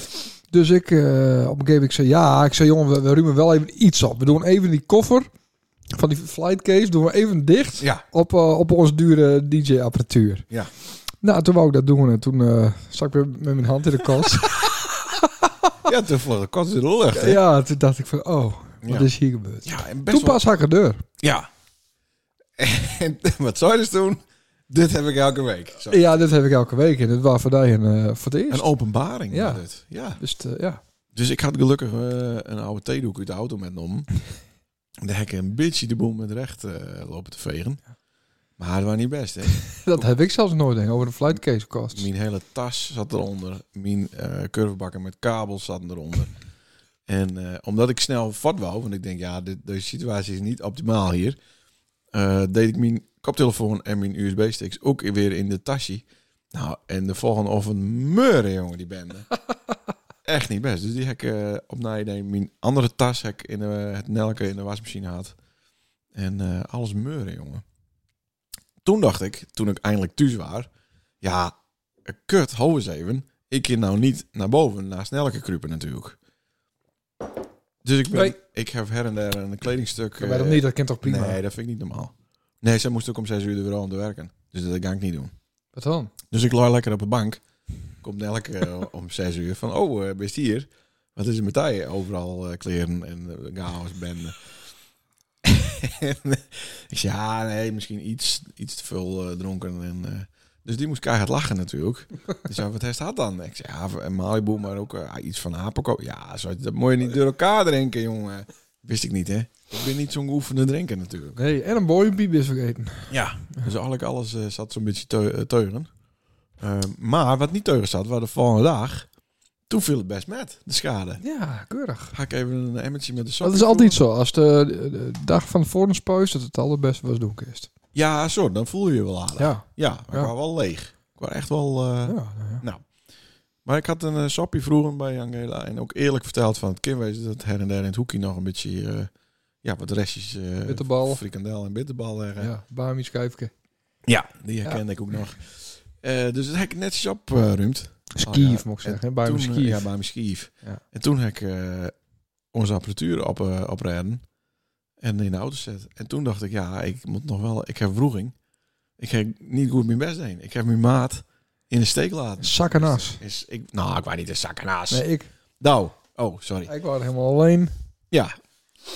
B: Dus ik, eh, op een gegeven moment, ik zei, ja, ik zei, jongen, we, we ruimen wel even iets op. We doen even die koffer van die flightcase, doen we even dicht
C: Ja.
B: op, eh, op onze dure DJ-apparatuur.
C: Ja.
B: Nou, toen wou ik dat doen en toen eh zat ik weer met mijn hand in de kast.
C: Ja, toen vloog de kat in de lucht. hè.
B: ja, toen dacht ik van, oh, wat
C: Ja.
B: is hier gebeurd?
C: Ja, en best
B: Toen
C: wel-
B: pas had ik een deur.
C: Ja. En wat zou je dus doen? Dit heb ik elke week. Zo.
B: Ja, dit heb ik elke week en dit was voor mij een, eh, voor het eerst.
C: Een openbaring.
B: Ja.
C: was dit. ja.
B: Dus het, eh, ja.
C: Dus ik had gelukkig eh, een oude theedoek uit de auto metgenomen. Daar heb ik een beetje de boel met recht eh, lopen te vegen. Maar het was niet best, hè.
B: Dat heb ik zelfs nooit denk, over de flightcase kost.
C: Mijn hele tas zat eronder. Mijn eh curvebakken met kabels zaten eronder. En eh, omdat ik snel vat wou, want ik denk, ja, dit, de situatie is niet optimaal hier. eh, deed ik mijn koptelefoon en mijn USB-sticks ook weer in de tasje. Nou, en de volgende ochtend meuren, jongen, die bende. Echt niet best. Dus die heb ik eh, op nadenken. Mijn andere tas heb ik in de, het nelke in de wasmachine had. En eh, alles meuren, jongen. Toen dacht ik, toen ik eindelijk thuis was... Ja, eh, kut, hou eens even. Ik kan nou niet naar boven, naar snelke kruipen natuurlijk. Dus ik, ben,
B: Nee.
C: ik heb her en der een kledingstuk...
B: Ik weet
C: eh,
B: dat niet, dat kind toch prima.
C: Nee, dat vind ik niet normaal. Nee, zij moest ook om 6 uur er weer aan te werken. Dus dat ga ik niet doen.
B: Wat dan?
C: Dus ik lag lekker op de bank. Komt elke eh, om 6 uur van, oh, eh, best hier. Wat is er met jou? Overal eh, kleren en eh, chaos bende. en, eh, ik zei, ja, nee, misschien iets, iets te veel eh, dronken. En, eh, dus die moest keihard lachen natuurlijk. Die zei, wat heeft dat dan? Ik zei, ja, een Malibu, maar ook eh, iets van apenkoop. Ja, zo, dat moet je niet door elkaar drinken, jongen. Wist ik niet, hè. Ik ben niet zo'n geoefende drinker natuurlijk.
B: Nee, en een boy is vergeten.
C: Ja. Dus eigenlijk alles eh, Ehm, zat zo'n beetje teu- eh, teugen. Eh, maar wat niet teugen zat, was de volgende dag. Toen viel het best met, de schade.
B: Ja, keurig.
C: Ga ik even een emmertje met de sok.
B: Dat is altijd zo. Als de, de- de dag van het post dat het allerbeste was doen kerst.
C: Ja, zo, dan voel je je wel aardig. Ja,
B: Ja.
C: maar ik
B: Ja.
C: was wel leeg. Ik was echt wel... eh,
B: ja, nou ja.
C: Maar ik had een eh, soppie vroeger bij Angela en ook eerlijk verteld van het kinwezen dat her en der in het hoekje nog een beetje eh, ja, wat restjes eh,
B: Bitterbal.
C: frikandel en bitterbal liggen. Ja, Oh,
B: Ja, Bami's kijken.
C: die
B: Ja.
C: herkende ik ook nog. Eh, dus dat heb ik netjes opruimd.
B: Skief,
C: Oh, ja.
B: moet ik
C: En
B: zeggen. Bij
C: Toen, eh,
B: skief.
C: Ja, bij mijn skief.
B: Ja.
C: En toen heb ik eh, onze apparatuur op, eh, oprijden en in de auto zet. En toen dacht ik, ja, ik moet nog wel, ik heb vroeging. Ik heb niet goed mijn best heen. Ik heb mijn maat in de steek laten.
B: Zakken as.
C: Is, ik, nou, ik wou niet een zakkenaas.
B: Nee, ik,
C: Nou, oh, sorry.
B: ik was helemaal alleen.
C: Ja.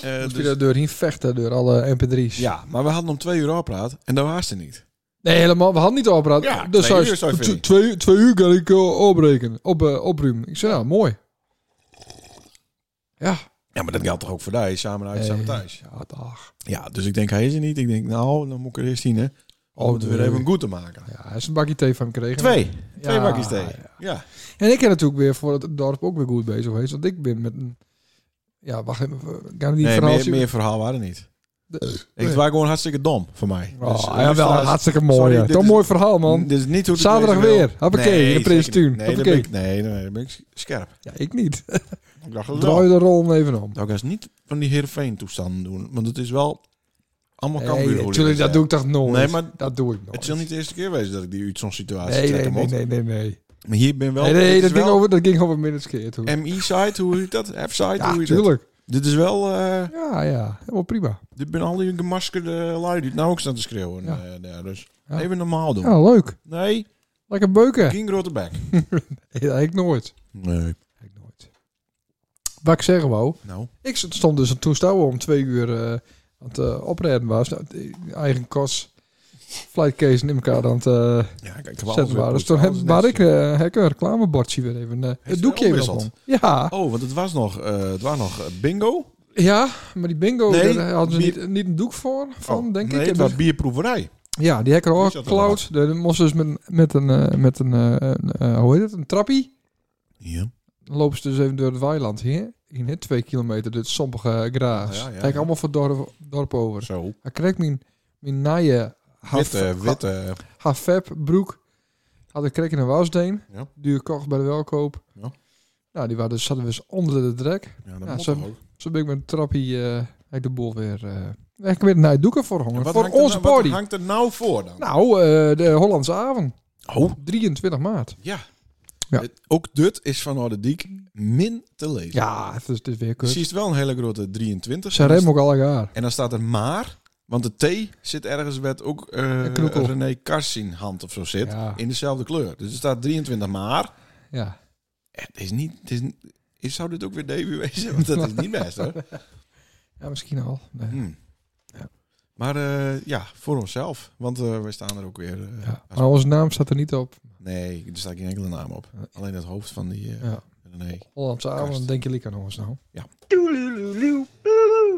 C: Eh,
B: Moest
C: dus-
B: weer doorheen vechten door alle mp3's.
C: ja, maar we hadden om twee uur oppraat en daar was ze niet.
B: Nee, helemaal. We hadden niet operaat.
C: Ja,
B: dus
C: twee
B: hij
C: uur zou je
B: tw-
C: vinden.
B: twee, twee uur kan ik eh, oprekenen. Op, eh, opruimen. Ik zei, nou, mooi. Ja.
C: Ja, maar dat geldt toch ook voor daar, samen uit, samen thuis.
B: Eh, Ja, dag.
C: Ja, dus ik denk, hij is er niet. Ik denk, nou, dan moet ik er eerst heen, hè. Om
B: Oh,
C: het weer
B: nee.
C: even goed te maken.
B: Ja, hij is een bakje thee van gekregen.
C: Twee. Twee
B: Ja,
C: bakjes thee. Ja.
B: ja. En ik ben natuurlijk weer voor het dorp ook weer goed bezig geweest. Want ik ben met een... Ja, wacht even. we Gaan die
C: Nee,
B: verhaal
C: meer,
B: zien?
C: meer verhaal waren er niet.
B: De-
C: Ik was gewoon hartstikke dom voor mij.
B: Oh,
C: Dus, eh,
B: ja, wel
C: luisteraars,
B: hartstikke
C: sorry,
B: mooi. ja.
C: dit
B: Toch een
C: is-
B: mooi verhaal, man.
C: Dit is niet hoe het
B: Zaterdag
C: lezen wil.
B: weer. Hoppakee, de
C: zeker
B: Prins
C: niet.
B: Tuun.
C: Nee, dan ben
B: Hoppakee.
C: ik, nee, nee, dan ben ik scherp.
B: Ja, ik niet.
C: Ik dacht, dat wel.
B: Draai de rol even om.
C: Nou, ik ga eens niet van die Heerenveen toestanden doen. Want het is wel allemaal
B: Nee,
C: Cambuur
B: natuurlijk, dat doe ik toch nooit.
C: Nee, maar
B: dat doe ik nooit.
C: Het zal niet de eerste keer wezen dat ik die uit zo'n situatie
B: Nee,
C: trek
B: nee,
C: hem
B: nee,
C: op.
B: nee, nee, nee.
C: Maar hier ben wel...
B: nee, nee,
C: dit
B: dat
C: is
B: ging,
C: wel
B: over, dat ging over middelskeer toen.
C: MI-site, hoe heet dat? F-site, hoe
B: Ja,
C: heet
B: tuurlijk.
C: dat? Dit is wel... eh
B: Ja, ja. Helemaal prima.
C: dit ben al die gemaskerde lui die het nou ook staan te schreeuwen.
B: Ja.
C: eh, daar, dus
B: Ja.
C: even normaal doen.
B: Ja, leuk.
C: Nee,
B: Lekker beuken.
C: geen grote bek.
B: Nee, dat heb ik nooit.
C: Nee.
B: Dat heb ik nooit. Wat ik zeggen wou.
C: Nou,
B: Ik stond dus een toestel om twee uur eh, aan het eh, oprijden was. Nou, de- eigen kost. Flightcase in elkaar aan het eh,
C: ja, kijk,
B: zetten waren. Dus toen heb, waar ik, eh heb ik een reclamebordje weer even. eh,
C: Heeft
B: het doekje
C: wel
B: even
C: omwisseld.
B: opgenomen. Ja.
C: Oh, want het was nog, eh, het was nog eh, bingo.
B: ja, maar die bingo,
C: Nee,
B: daar hadden ze
C: bier-
B: niet, niet een doek voor, van,
C: Oh,
B: denk
C: nee,
B: ik.
C: het
B: Dus-
C: was bierproeverij.
B: Ja, die hacker
C: Die
B: ook
C: zat er
B: cloud. De, de moest dus met, met een, eh, met een, eh, een, eh, hoe heet het, een trappie.
C: Ja.
B: Dan lopen ze dus even door het weiland hier. In het twee kilometer, dit sommige graas.
C: Ah, ja, ja,
B: Kijk
C: ja.
B: allemaal voor dorp, dorp over.
C: Zo.
B: Hij kreeg mijn, mijn naaie
C: Witte, witte.
B: hafep broek. Had ik kreeg in een wasdeen.
C: Ja.
B: Duur kocht bij de welkoop.
C: Ja.
B: Nou, die waren dus, zaten dus onder de drek.
C: Ja, dat
B: Ja,
C: moet
B: zo-
C: toch ook.
B: Zo ben ik met een trappie eh, heb ik de boel weer... eh heb ik weer naar het doeken voor
C: En
B: hangen.
C: wat
B: Voor
C: hangt er
B: onze
C: nou-
B: party.
C: Wat hangt er nou voor dan?
B: Nou, eh, de Hollandse avond.
C: Oh.
B: 23 maart.
C: Ja.
B: Ja.
C: Het- ook dit is van Ordediek min te lezen.
B: Ja, het is, het is weer
C: Je
B: kut.
C: ziet wel een hele grote 23.
B: Ze remmen ook alle jaar.
C: En dan staat er maar, want de T zit ergens met ook eh
B: Een knoekel.
C: René Karsin hand of zo zit.
B: Ja.
C: In dezelfde kleur. Dus er staat 23 maar.
B: Ja.
C: Eh, Het is niet... Het is, niet- is- zou dit ook weer debut wezen? Want dat is niet best hoor.
B: ja, misschien al. Nee.
C: Hm.
B: Ja.
C: Maar eh, ja, voor onszelf. Want eh wij staan er ook weer... eh,
B: Ja.
C: als-
B: Maar onze naam staat er niet op.
C: Nee, er staat geen enkele naam op.
B: Nee.
C: Alleen het hoofd van die eh
B: Ja.
C: René.
B: Hollandse avond,
C: Karst.
B: dan denk je lekker aan ons nou.
C: Ja.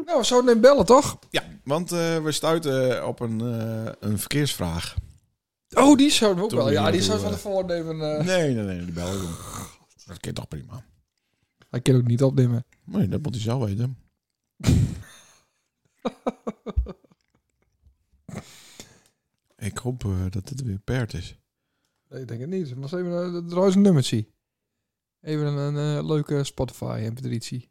B: Nou, we zouden hem bellen, toch?
C: Ja, want eh, we stuiten op een, eh, een verkeersvraag.
B: Oh, die zouden we ook
C: Toen
B: wel. Ja,
C: die
B: die zouden we
C: doe,
B: van tevoren nemen. eh.
C: Nee, nee, nee, die bel ik hem. Dat kan toch prima.
B: Hij kan ook niet opnemen.
C: Nee, dat moet hij zelf weten. ik hoop eh, dat dit weer paard is.
B: Nee, ik denk het niet. Maar eens even een, uh, een nummertje. Even een, een, eh, leuke Spotify petitie.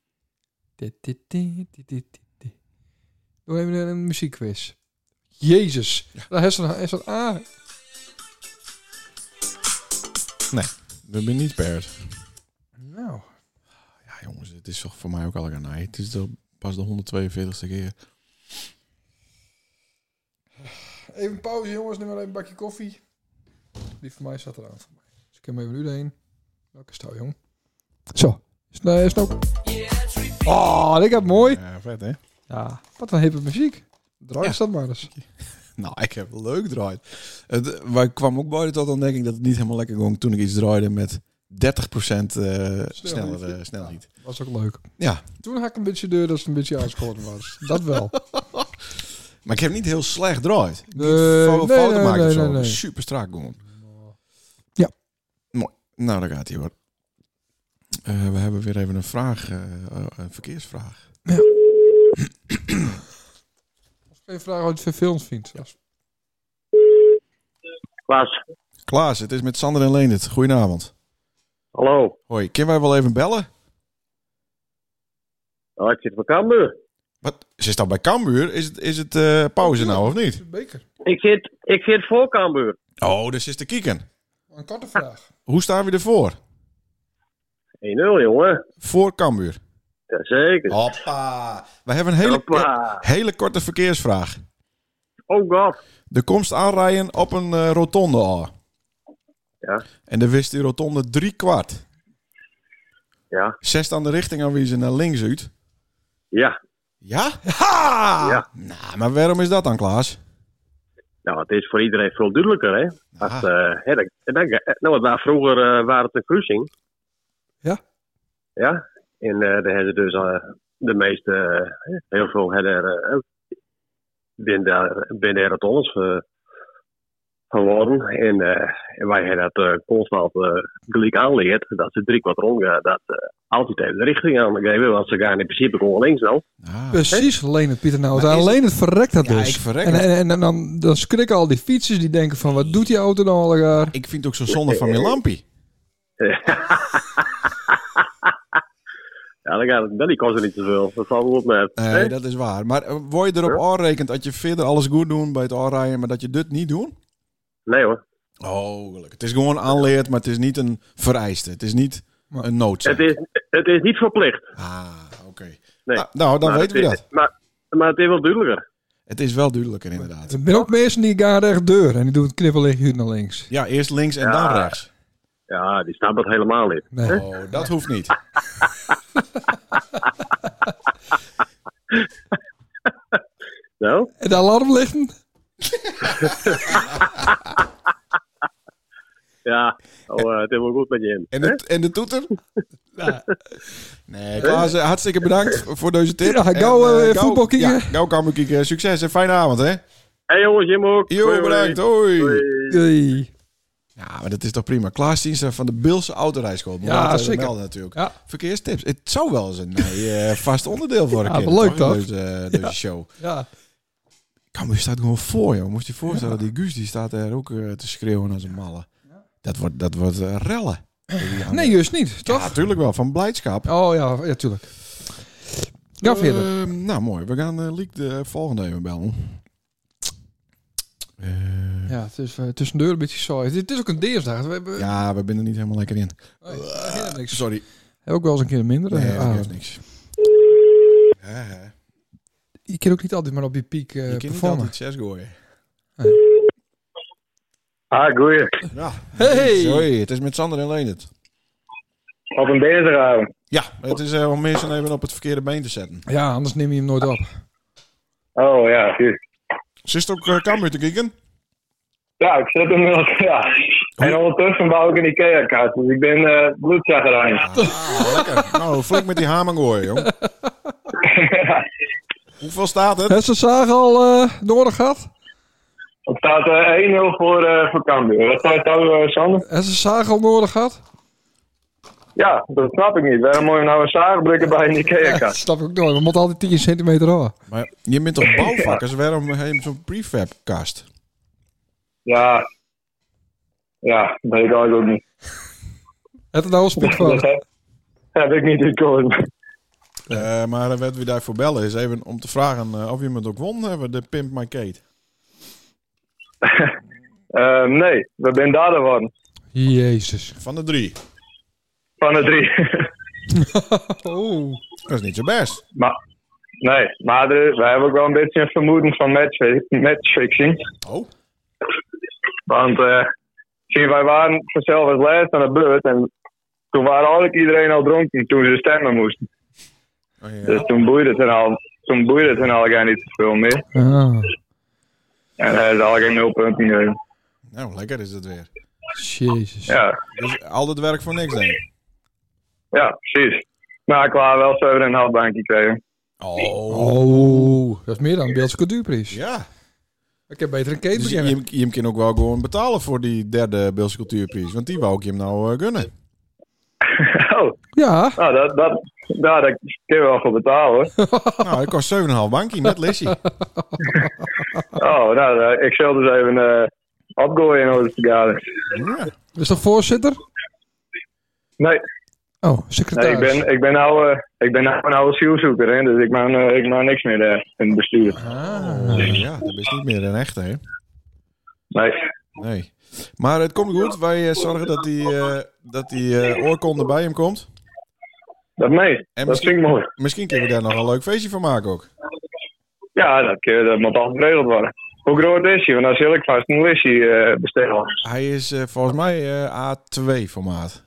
B: Doe even een, een muziekquiz. Jezus. Daar is een, is een A.
C: We zijn niet paard.
B: Nou.
C: Ja, jongens, het is toch voor mij ook al een nee. Het is toch pas de 142ste keer.
B: Even pauze, jongens. Neem maar even een bakje koffie. Die van mij staat eraan. Voor mij. Dus ik heb hem even nu heen. Welke stel, jong? Zo. Is het, eh, is het ook? Oh, dit gaat mooi.
C: Ja, vet hè?
B: Ja. Wat een hippe muziek. Draai
C: Ja.
B: is dat maar eens.
C: Nou, ik heb leuk draaid. Het, wij kwam ook bij tot de ontdekking dat het niet helemaal lekker ging toen ik iets draaide met 30% eh sneller eh, snelheid.
B: Was ook leuk.
C: Ja,
B: Toen had ik een beetje deur dat ze een beetje aanschoten was. Dat wel.
C: maar ik heb niet heel slecht draaid. Niet
B: Nee,
C: fouten
B: nee,
C: fouten
B: nee,
C: maken of
B: nee,
C: zo.
B: nee, nee.
C: Super strak gewoon.
B: Ja.
C: Nou, daar gaat hij hoor. Eh, we hebben weer even een vraag, eh, eh, een verkeersvraag.
B: Als geen vraag wat je van films vindt. Als-
D: Klaas,
C: Klaas, het is met Sander en Leendert. Goedenavond.
D: hallo.
C: Hoi, kunnen wij wel even bellen?
D: Oh, ik zit bij Cambuur.
C: Wat? Ze is dan bij Cambuur? Is het, is het eh, pauze nou of niet?
B: Beker.
D: Ik zit, ik zit voor Cambuur.
C: Oh, dus is te kieken.
B: Een korte vraag.
C: Hoe staan we ervoor?
D: 1-0, jongen.
C: Voor Cambuur.
D: Jazeker.
C: Oh. Hoppa. We hebben een hele,
D: Hoppa.
C: hele korte verkeersvraag.
D: Oh god.
C: De komst aanrijden op een eh, rotonde al.
D: Ja.
C: En dan wist die rotonde drie kwart.
D: Ja,
C: Zes dan de richting aan wie ze naar links uit.
D: ja.
C: Ja? Ha!
D: Ja.
C: Nou, maar waarom is dat dan, Klaas?
D: Nou, het is voor iedereen veel duidelijker, hè. Als, eh, hè, dat- dat- nou, want daar vroeger eh, waren het een kruising.
B: Ja.
D: Ja. En eh daar hebben ze dus eh, de meeste, eh, heel veel hebben er, eh, binnen daar- binnen er het ons eh, geworden. En, eh, en wij hebben dat eh, constant eh, gelijk aanleerd, dat ze drie kwart rondgaan, dat eh, altijd even de richting aangeven, want ze gaan in principe gewoon links dan.
C: Ah.
B: Precies, alleen het Pieter nou.
C: Maar is
B: Alleen het verrekt dat
C: Ja,
B: dus.
C: ik verrek
B: en
C: het.
B: en, en dan, dan schrikken al die fietsers die denken van wat doet die auto nou al elkaar?
C: Ik vind het ook zo zonde van mijn lampie.
D: Ja, dan gaat het, dan die kost er niet zoveel. Dat valt wel op met.
C: Nee, dat is waar. Maar eh, word je erop aanrekend dat je verder alles goed doet bij het aanrijden, maar dat je dit niet doet?
D: nee hoor.
C: Oh, gelukkig. Het is gewoon aanleerd, maar het is niet een vereiste. Het is niet
B: Maar-
C: een noodzaak.
D: Het is, het is niet verplicht.
C: Ah, oké.
D: Nee.
C: Ah, nou, dan
D: Maar
C: weten we
D: het
C: dat.
D: is- Maar, maar het is wel duidelijker.
C: Het is wel duidelijker, inderdaad.
B: Er zijn ook mensen die gaan recht deur en die doen het knippellichtje naar links.
C: Ja, eerst links en
D: Ja.
C: dan rechts.
D: Ja, die snapt dat helemaal niet.
B: Nee.
C: Oh, dat hoeft niet.
D: Nou,
B: En de alarmlichten?
D: ja, oh, eh, het is wel goed met je in.
C: En de, en de toeter? Nee, Klaas, eh, hartstikke bedankt voor deze tip.
B: Ja,
C: En,
B: gauw,
C: eh,
B: eh,
C: gauw-
B: voetbal kieken.
C: Ja, gauw kan kieken. Succes en fijne avond, hè?
D: hey, jongens, Jim ook. Hoi,
C: Jo,
D: hoi.
C: bedankt. Hoi.
D: Hoi.
B: Jee.
C: Ja, maar dat is toch prima. Klaas Dienster van de Bilse Autorijschool. Moet
B: Ja,
C: altijd
B: zeker.
C: melden natuurlijk.
B: Ja.
C: Verkeerstips. Het zou wel eens een eh, vast onderdeel worden.
B: Ja,
C: keer,
B: leuk toch?
C: Deze, eh, deze show.
B: Ja.
C: Cambuur staat gewoon voor, joh. Moest je je voorstellen, die Guus die staat er ook eh, te schreeuwen als een malle. Dat wordt, dat wordt eh, rellen.
B: Nee, juist niet,
C: Ja,
B: toch?
C: natuurlijk wel. Van blijdschap.
B: Oh ja, ja tuurlijk. Ga verder.
C: Ehm, nou, mooi. We gaan eh Liek de volgende even bellen. Eh,
B: Ja, het is eh, tussendoor een beetje saai. Het is ook een dinsdag. We hebben
C: ja, we zijn er niet helemaal lekker in.
B: Nee, we hebben niks.
C: Sorry.
B: Heb ook wel eens een keer minder.
C: Nee,
B: eh,
C: dat
B: ah. Eh,
C: geeft niks. Ja, hè.
B: Je kunt ook niet altijd maar op je piek eh,
C: je kunt niet
B: performen.
C: altijd zes gooien.
D: Ah, goeie.
C: Ja.
B: Hey!
C: Sorry, het is met Sander en Leendert.
D: Op een dinsdagavond.
C: Ja, het is eh, om mensen even op het verkeerde been te zetten.
B: Ja, anders neem je hem nooit op.
D: Oh, ja, juist.
C: Ze is ook uh, Cambuur te kijken.
E: Ja, ik zit inmiddels, ja. En ondertussen bouw ik een IKEA-kaart, dus ik ben eh bloedzaggerijn.
C: Ah, lekker. Nou, flink met die hamer gooien, jong. Hoeveel staat het?
B: Heb ze zagen al eh nodig gehad?
E: Het staat eh, 1-0 voor, eh voor Cambuur. Wat staat jou, eh, Sander?
B: Heb ze zagen al nodig gehad?
E: Ja, dat snap ik niet. Waarom moet je nou een zagenbrikker bij een
B: dat
E: IKEA-kaart?
B: snap ik ook nooit. We moeten altijd 10 centimeter hoor.
C: Maar je bent toch bouwvakkers? Waarom heb je zo'n prefabkast?
E: Ja. Ja, dat weet ik eigenlijk ook niet.
B: Het er nou een spik
E: Dat
B: van.
E: heb, heb ik niet gekozen.
C: Eh, maar eh, wat we daarvoor bellen is even om te vragen eh, of iemand ook won hebben, de Pimp My Kate.
E: Eh, nee, we zijn dader geworden.
B: Jezus.
C: Van de drie.
E: Van de drie.
B: Oh.
C: Dat is niet zo best.
E: maar, nee, maar er, wij hebben ook wel een beetje een vermoeden van match, matchfixing.
C: Oh.
E: Want eh, zie, wij waren vanzelf als laatst aan de beurt. En toen waren eigenlijk iedereen al dronken toen ze stemmen moesten.
C: Oh, ja.
E: Dus toen boeide het hen al. Toen boeide het hen al geen niet veel meer.
B: Ah.
E: En hij is al geen nul punten gegeven.
C: Nou, lekker is het weer.
B: Jezus.
E: Ja,
C: Dus al dat werk voor niks, denk ik.
E: ja, precies. Maar ik wou wel 7,5 een half bankje krijgen.
C: Oh.
B: Oh. Dat is meer dan een Beeldse cultuurprijs.
C: Ja.
B: Ik heb beter een keten
C: Dus je,
B: beginnen.
C: je, je hem kan ook wel gewoon betalen voor die derde Beelse Cultuurprijs. Want die wou ik hem nou eh, gunnen.
E: Oh,
B: Ja,
E: nou, dat, dat, nou, daar kunnen we wel voor betalen hoor.
C: Nou, dat kost 7,5 bankie met Lissie.
E: Oh, nou, eh, ik zal dus even eh opgooien in onze vergadering.
C: Ja.
B: is dat voorzitter?
E: Nee,
B: Oh,
E: nee ik,
B: secretaris.
E: ben, ik ben nou, eh, ik ben nou een oude asielzoeker, hè, dus ik maak, eh, ik maak niks meer eh, in het bestuur.
B: Ah.
C: Eh, ja, dat is niet meer een echte, hè?
E: Nee,
C: Nee. Maar het komt goed. Wij eh, zorgen dat die, eh, dat die eh, oorkonde bij hem komt.
E: dat mee.
C: En
E: Dat vind ik mooi.
C: Misschien kunnen we daar nog een leuk feestje van maken ook.
E: Ja, dat, kun je- dat moet altijd geregeld worden. Hoe groot is hij? Want dan zal ik vast een listje eh, bestellen.
C: Hij is eh, volgens mij eh, A2 formaat.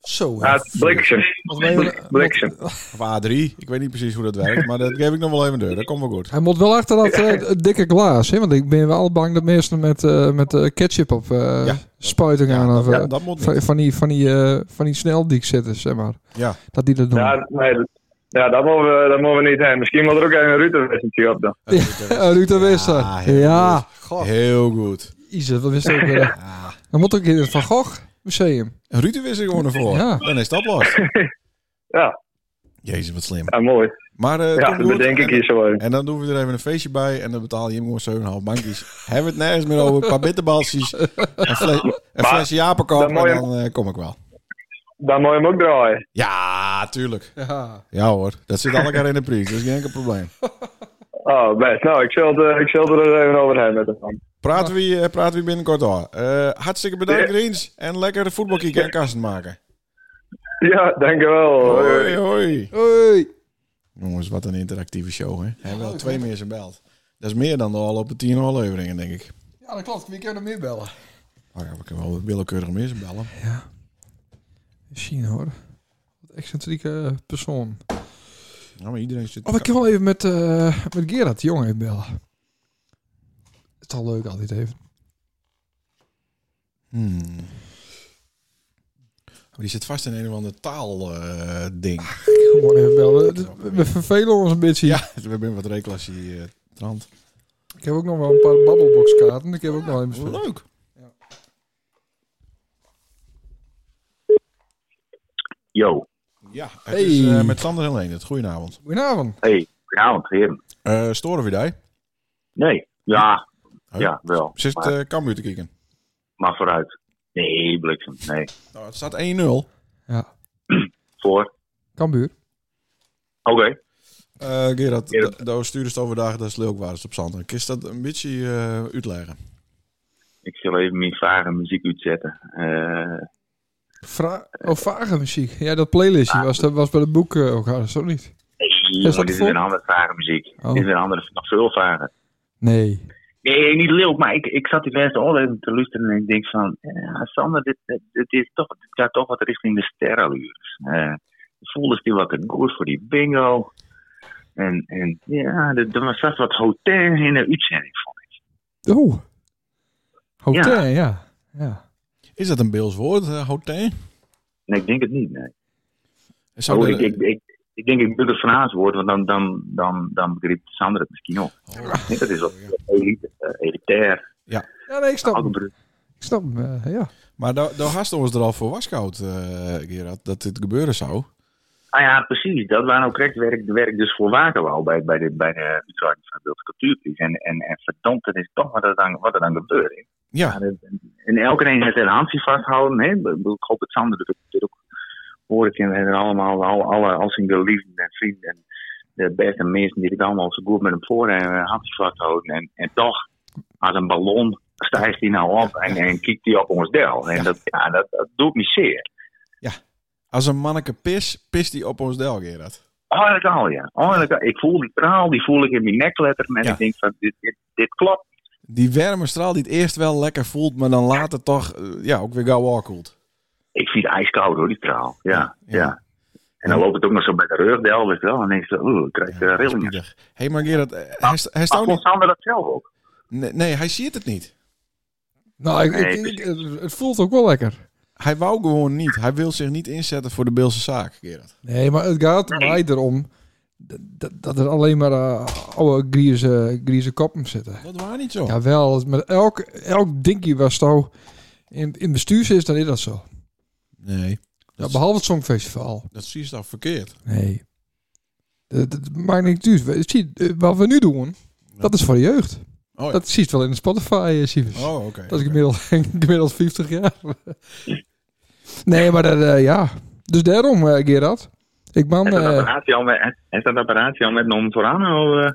B: Zo, hè.
E: Ah, bliksem.
B: Wat ben je-
E: Bliksem.
C: Of A3. Ik weet niet precies hoe dat werkt, maar dat geef ik nog wel even deur. Dat komt wel goed.
B: Hij moet wel achter dat eh, het dikke glaas, hè? Want ik ben wel bang dat mensen met, eh, met eh, ketchup op eh
C: Ja.
B: spuiting
C: Ja,
B: aan
C: dat-
B: of eh,
C: dat, dat moet
B: van,
C: niet.
B: van die van die eh, van die sneldiek zitten, zeg maar.
C: Ja.
B: Dat die dat doen.
E: Ja, nee, dat, ja, dat moeten we, dat moeten we niet hebben. Misschien moet er ook een Rutenwessertje op dan.
B: Eh, Ruud de Wisser.
C: Ja,
B: Ja,
C: heel Heel goed. Ah.
B: Jezus, wat wist ik ook weer.
C: Ja.
B: Dan moet ook in het Van Gogh Museum.
C: Ruud is er gewoon ervoor.
B: Ja.
C: Dan is dat los.
E: Ja,
C: Jezus, wat slim.
E: ja mooi.
C: Maar eh, het
E: Ja,
C: komt
E: dat
C: goed.
E: bedenk ik
C: En-
E: hier zo even.
C: En dan doen we er even een feestje bij en dan betaal je hem gewoon 7,5 bankjes. Hebben we het nergens meer over, een paar bitterbalsjes, een, fles, een flesje
E: dan
C: japenkop en
E: moet je-
C: dan eh, kom ik wel.
E: Dan moet je hem ook draaien.
C: Ja, tuurlijk.
B: Ja.
C: Ja hoor, dat zit al elkaar in de prijs, dat is geen enkel probleem.
E: Oh, best. Nou, ik zal, het, eh, ik zal het er even over hebben met hem. man.
C: Praten we, eh, praten we binnenkort al. Eh, hartstikke bedankt Greens en lekker voetbal kijken en kasten maken.
E: Ja, dankjewel.
C: Hoi, hoi.
B: Hoi.
C: Jongens, wat een interactieve show hè. Hebben wel twee meer zijn belt. Dat is meer dan de al op de 10 afleveringen denk ik.
B: Ja, dat klopt. Wie kan er meer bellen?
C: Maar ja, we kunnen wel willekeurig meer zijn bellen.
B: China hoor. Wat excentrieke persoon.
C: Ja, maar iedereen zit...
B: Oh, ik kan wel even met, eh met Gerard de Jong even bellen. Het is al leuk altijd even.
C: Hmm. Maar die zit vast in een of ander eh, taalding.
B: Gewoon even bellen. We- eh, We vervelen ons een beetje.
C: ja, we hebben wat reclassie eh, trant.
B: Ik heb ook nog wel een paar babbelboxkaarten. Ik heb ook nog even
C: Wat
B: gespeeld.
C: leuk.
F: Yo,
C: Ja, het
B: Hey.
C: is eh, met Sander en Leendert. Goedenavond.
B: Goedenavond.
F: hey, goedenavond, heren.
C: Eh storen we die?
F: Nee, ja,
C: Huh?
F: ja, wel.
C: Zit
F: maar,
C: eh Cambuur te kijken.
F: maar vooruit. Nee, bliksem, nee.
C: Nou, het staat 1-0.
B: Ja.
F: Voor.
B: Kambuur.
F: Oké,
C: Eh Gerard,
F: Ja.
C: da- daar stuurde het overdag, dat is leuk waar het op Sander. Kist dat een beetje eh, uitleggen?
F: ik zal even mijn vage muziek uitzetten. Eh,
B: Vra oh, vage muziek. Ja, dat playlistje was, dat was bij het boek eh, ook hard, zo niet?
F: nee,
B: dat
F: maar dit is
B: vol?
F: een andere vage muziek.
B: Oh.
F: Dit is een andere, nog veel vager.
B: Nee.
F: Nee, niet leuk, maar ik, ik zat die laatste al even te luisteren en ik denk van, eh, Sander, dit, dit, dit is toch, dit gaat toch wat richting de sterrenluurs. Eh voelde die wat een goed voor die bingo. En, en ja, er er was vast wat hotel in de uitzending van.
B: Oh. Hotel, ja.
F: Ja.
B: ja.
C: Is dat een Beels woord, eh, hotel?
F: Nee, ik denk het niet, nee.
C: Zou
F: Oh,
C: de-
F: ik,
B: eh,
F: ik, ik, ik denk ik doe het van Haas woord, want dan, dan, dan, dan begreep Sander het misschien ook.
C: Oh.
F: Ik denk dat is wat elite, eh, elitair,
B: Ja, nee, ik snap hem.
F: algebru-
B: Ik snap hem, eh, ja.
C: Maar daar daar haast ons er al voor wasgoud, eh Gerard, dat dit gebeuren zou.
F: Ah ja, precies. Dat waar ook correct werk, werk dus voor Wakenwal bij, bij de, bij de uitzwaarding van de Beeldse Cultuurprijs. En, en, en verdomd, dat is toch wat er dan, wat er dan gebeurt. hè. eh,
C: Ja,
F: En elke een heeft een handje vasthouden. Hè? Ik bedoel, Ik hoop dat Sander dat ook- dat ook hoort. En we hebben allemaal, alle, alle als zijn geliefden en vrienden en de beste mensen die het allemaal zo goed met hem voor hebben, een handje vasthouden. En, en toch, als een ballon, stijgt hij nou op en, en kijkt hij op ons deel. En
C: Ja.
F: dat, ja, dat, dat doet me zeer.
C: als een manneke pis, pist hij op ons del, Gerard.
F: Eigenlijk al, ja. Eigenlijk al. Ik voel die praal, die voel ik in mijn nek letteren. En
C: Ja.
F: ik denk van, dit, dit, dit klopt.
C: Die wermestraal die het eerst wel lekker voelt, maar dan later toch eh, ja, ook weer gauw afkoelt.
F: Ik vind het ijskoud hoor, die praal. Ja, ja.
C: Ja.
F: En dan loopt het ook nog zo bij de rugdel, weet je wel. En dan denk je, oeh, ik krijg eh,
C: Ja,
F: er rillingen.
C: spiedig. hey, maar Gerard, eh, hij, sta- hij
F: Maar
C: staat
F: kon
C: niet...
F: Sander dat zelf ook?
C: Nee, nee, hij ziet het niet.
B: Nou, ik, ik-
F: Nee,
B: ik- het- het voelt ook wel lekker.
C: Hij wou gewoon niet. Hij wil zich niet inzetten voor de Beelse zaak, Gerard.
B: Nee, maar het gaat mij erom dat- dat, dat er alleen maar eh, oude grieze, grieze koppen zitten.
C: Dat was niet zo.
B: Ja, wel. Met elk, elk dinkie was zo in, in bestuurs is, dan is dat zo.
C: Nee.
B: Ja, behalve het Songfestival.
C: Dat zie je toch verkeerd.
B: Nee. Dat, dat maakt niet uit. We- Zie, eh, wat we nu doen, dat is voor de jeugd.
C: Oh, ja.
B: Dat zie je wel in de Spotify, eh, Sivers.
C: oh oké.
B: Dat is gemiddeld, gemiddeld 50 jaar. nee, maar dat, eh, ja. Dus daarom, eh Gerard. Ik man...
F: Is dat
B: eh,
F: apparaatje al met, is dat apparaatje al met een vooraan? Of, eh?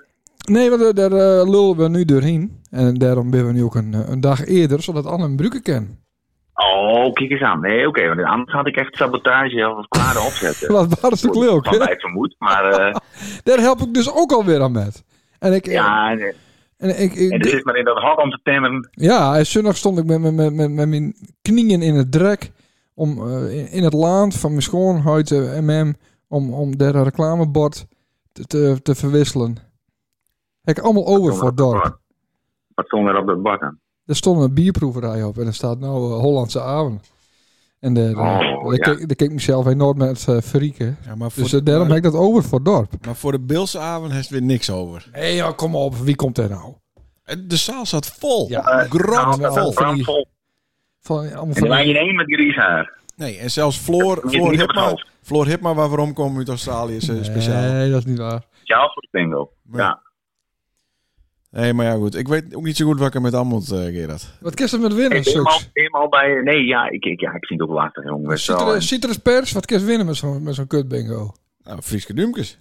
B: Nee, want eh, daar eh, lullen we nu doorheen. En daarom ben we nu ook een, eh, een dag eerder, zodat Anne hem bruken kan.
F: Oh, kijk eens aan. Nee, oké, want anders had ik echt sabotage of kwade opzetten.
B: Dat was natuurlijk leuk,
F: Van
B: hè?
F: eh. mij vermoed, maar eh,
B: Daar help ik dus ook alweer aan met. En ik... eh,
F: ja, en,
B: En ik, ik-
F: en dus- er zit maar in dat hok om te timmeren.
B: ja, en zondag stond ik met, met, met, met, met mijn knieën in het drek. Om, eh, in, in het land van mijn schoonheid en MM. Om, om daar een reclamebord te, te, te verwisselen. Heb ik allemaal over voor het dorp.
F: Wat stond er op dat bord dan?
B: Er stond een bierproeverij op en er staat nou eh, Hollandse avond. En de, de,
F: Oh,
B: daar
F: ja.
B: keek, daar keek ik mezelf enorm met eh verrieken.
C: Ja, maar, voor
B: Dus
C: de,
B: eh, daarom heb
C: maar,
B: ik dat over voor het dorp.
C: maar voor de Bilsavond heeft weer niks over.
B: Hé, ja, kom op, wie komt er nou?
C: De zaal zat vol.
B: Ja.
F: Eh,
C: Grot
F: nou,
C: vol.
B: van die-
F: Brandvol.
B: Van, allemaal
F: En dan
B: van,
F: je één met grieshaar.
C: Nee, en zelfs Floor,
F: Niet
C: Floor,
F: op het
C: Hipma,
F: hoofd.
C: Floor Hipma, waar we omkomen uit Australië, is eh, speciaal.
B: Nee, dat is niet waar.
F: Sjaal voor de bingo.
C: Maar-
F: Ja.
C: Nee, maar ja, goed. Ik weet ook niet zo goed wat ik er met aan moet, eh, Gerard.
B: Wat kerst er met winnen,
F: Ik ben helemaal,
B: Suks?
F: helemaal bij... Nee, ja, ik, ik, ja, ik vind het ook lastig, jongens. wel. En-
B: Citrus pers, wat kerst winnen met zo'n met zo'n kut bingo?
C: Nou, Frieske Dumkes.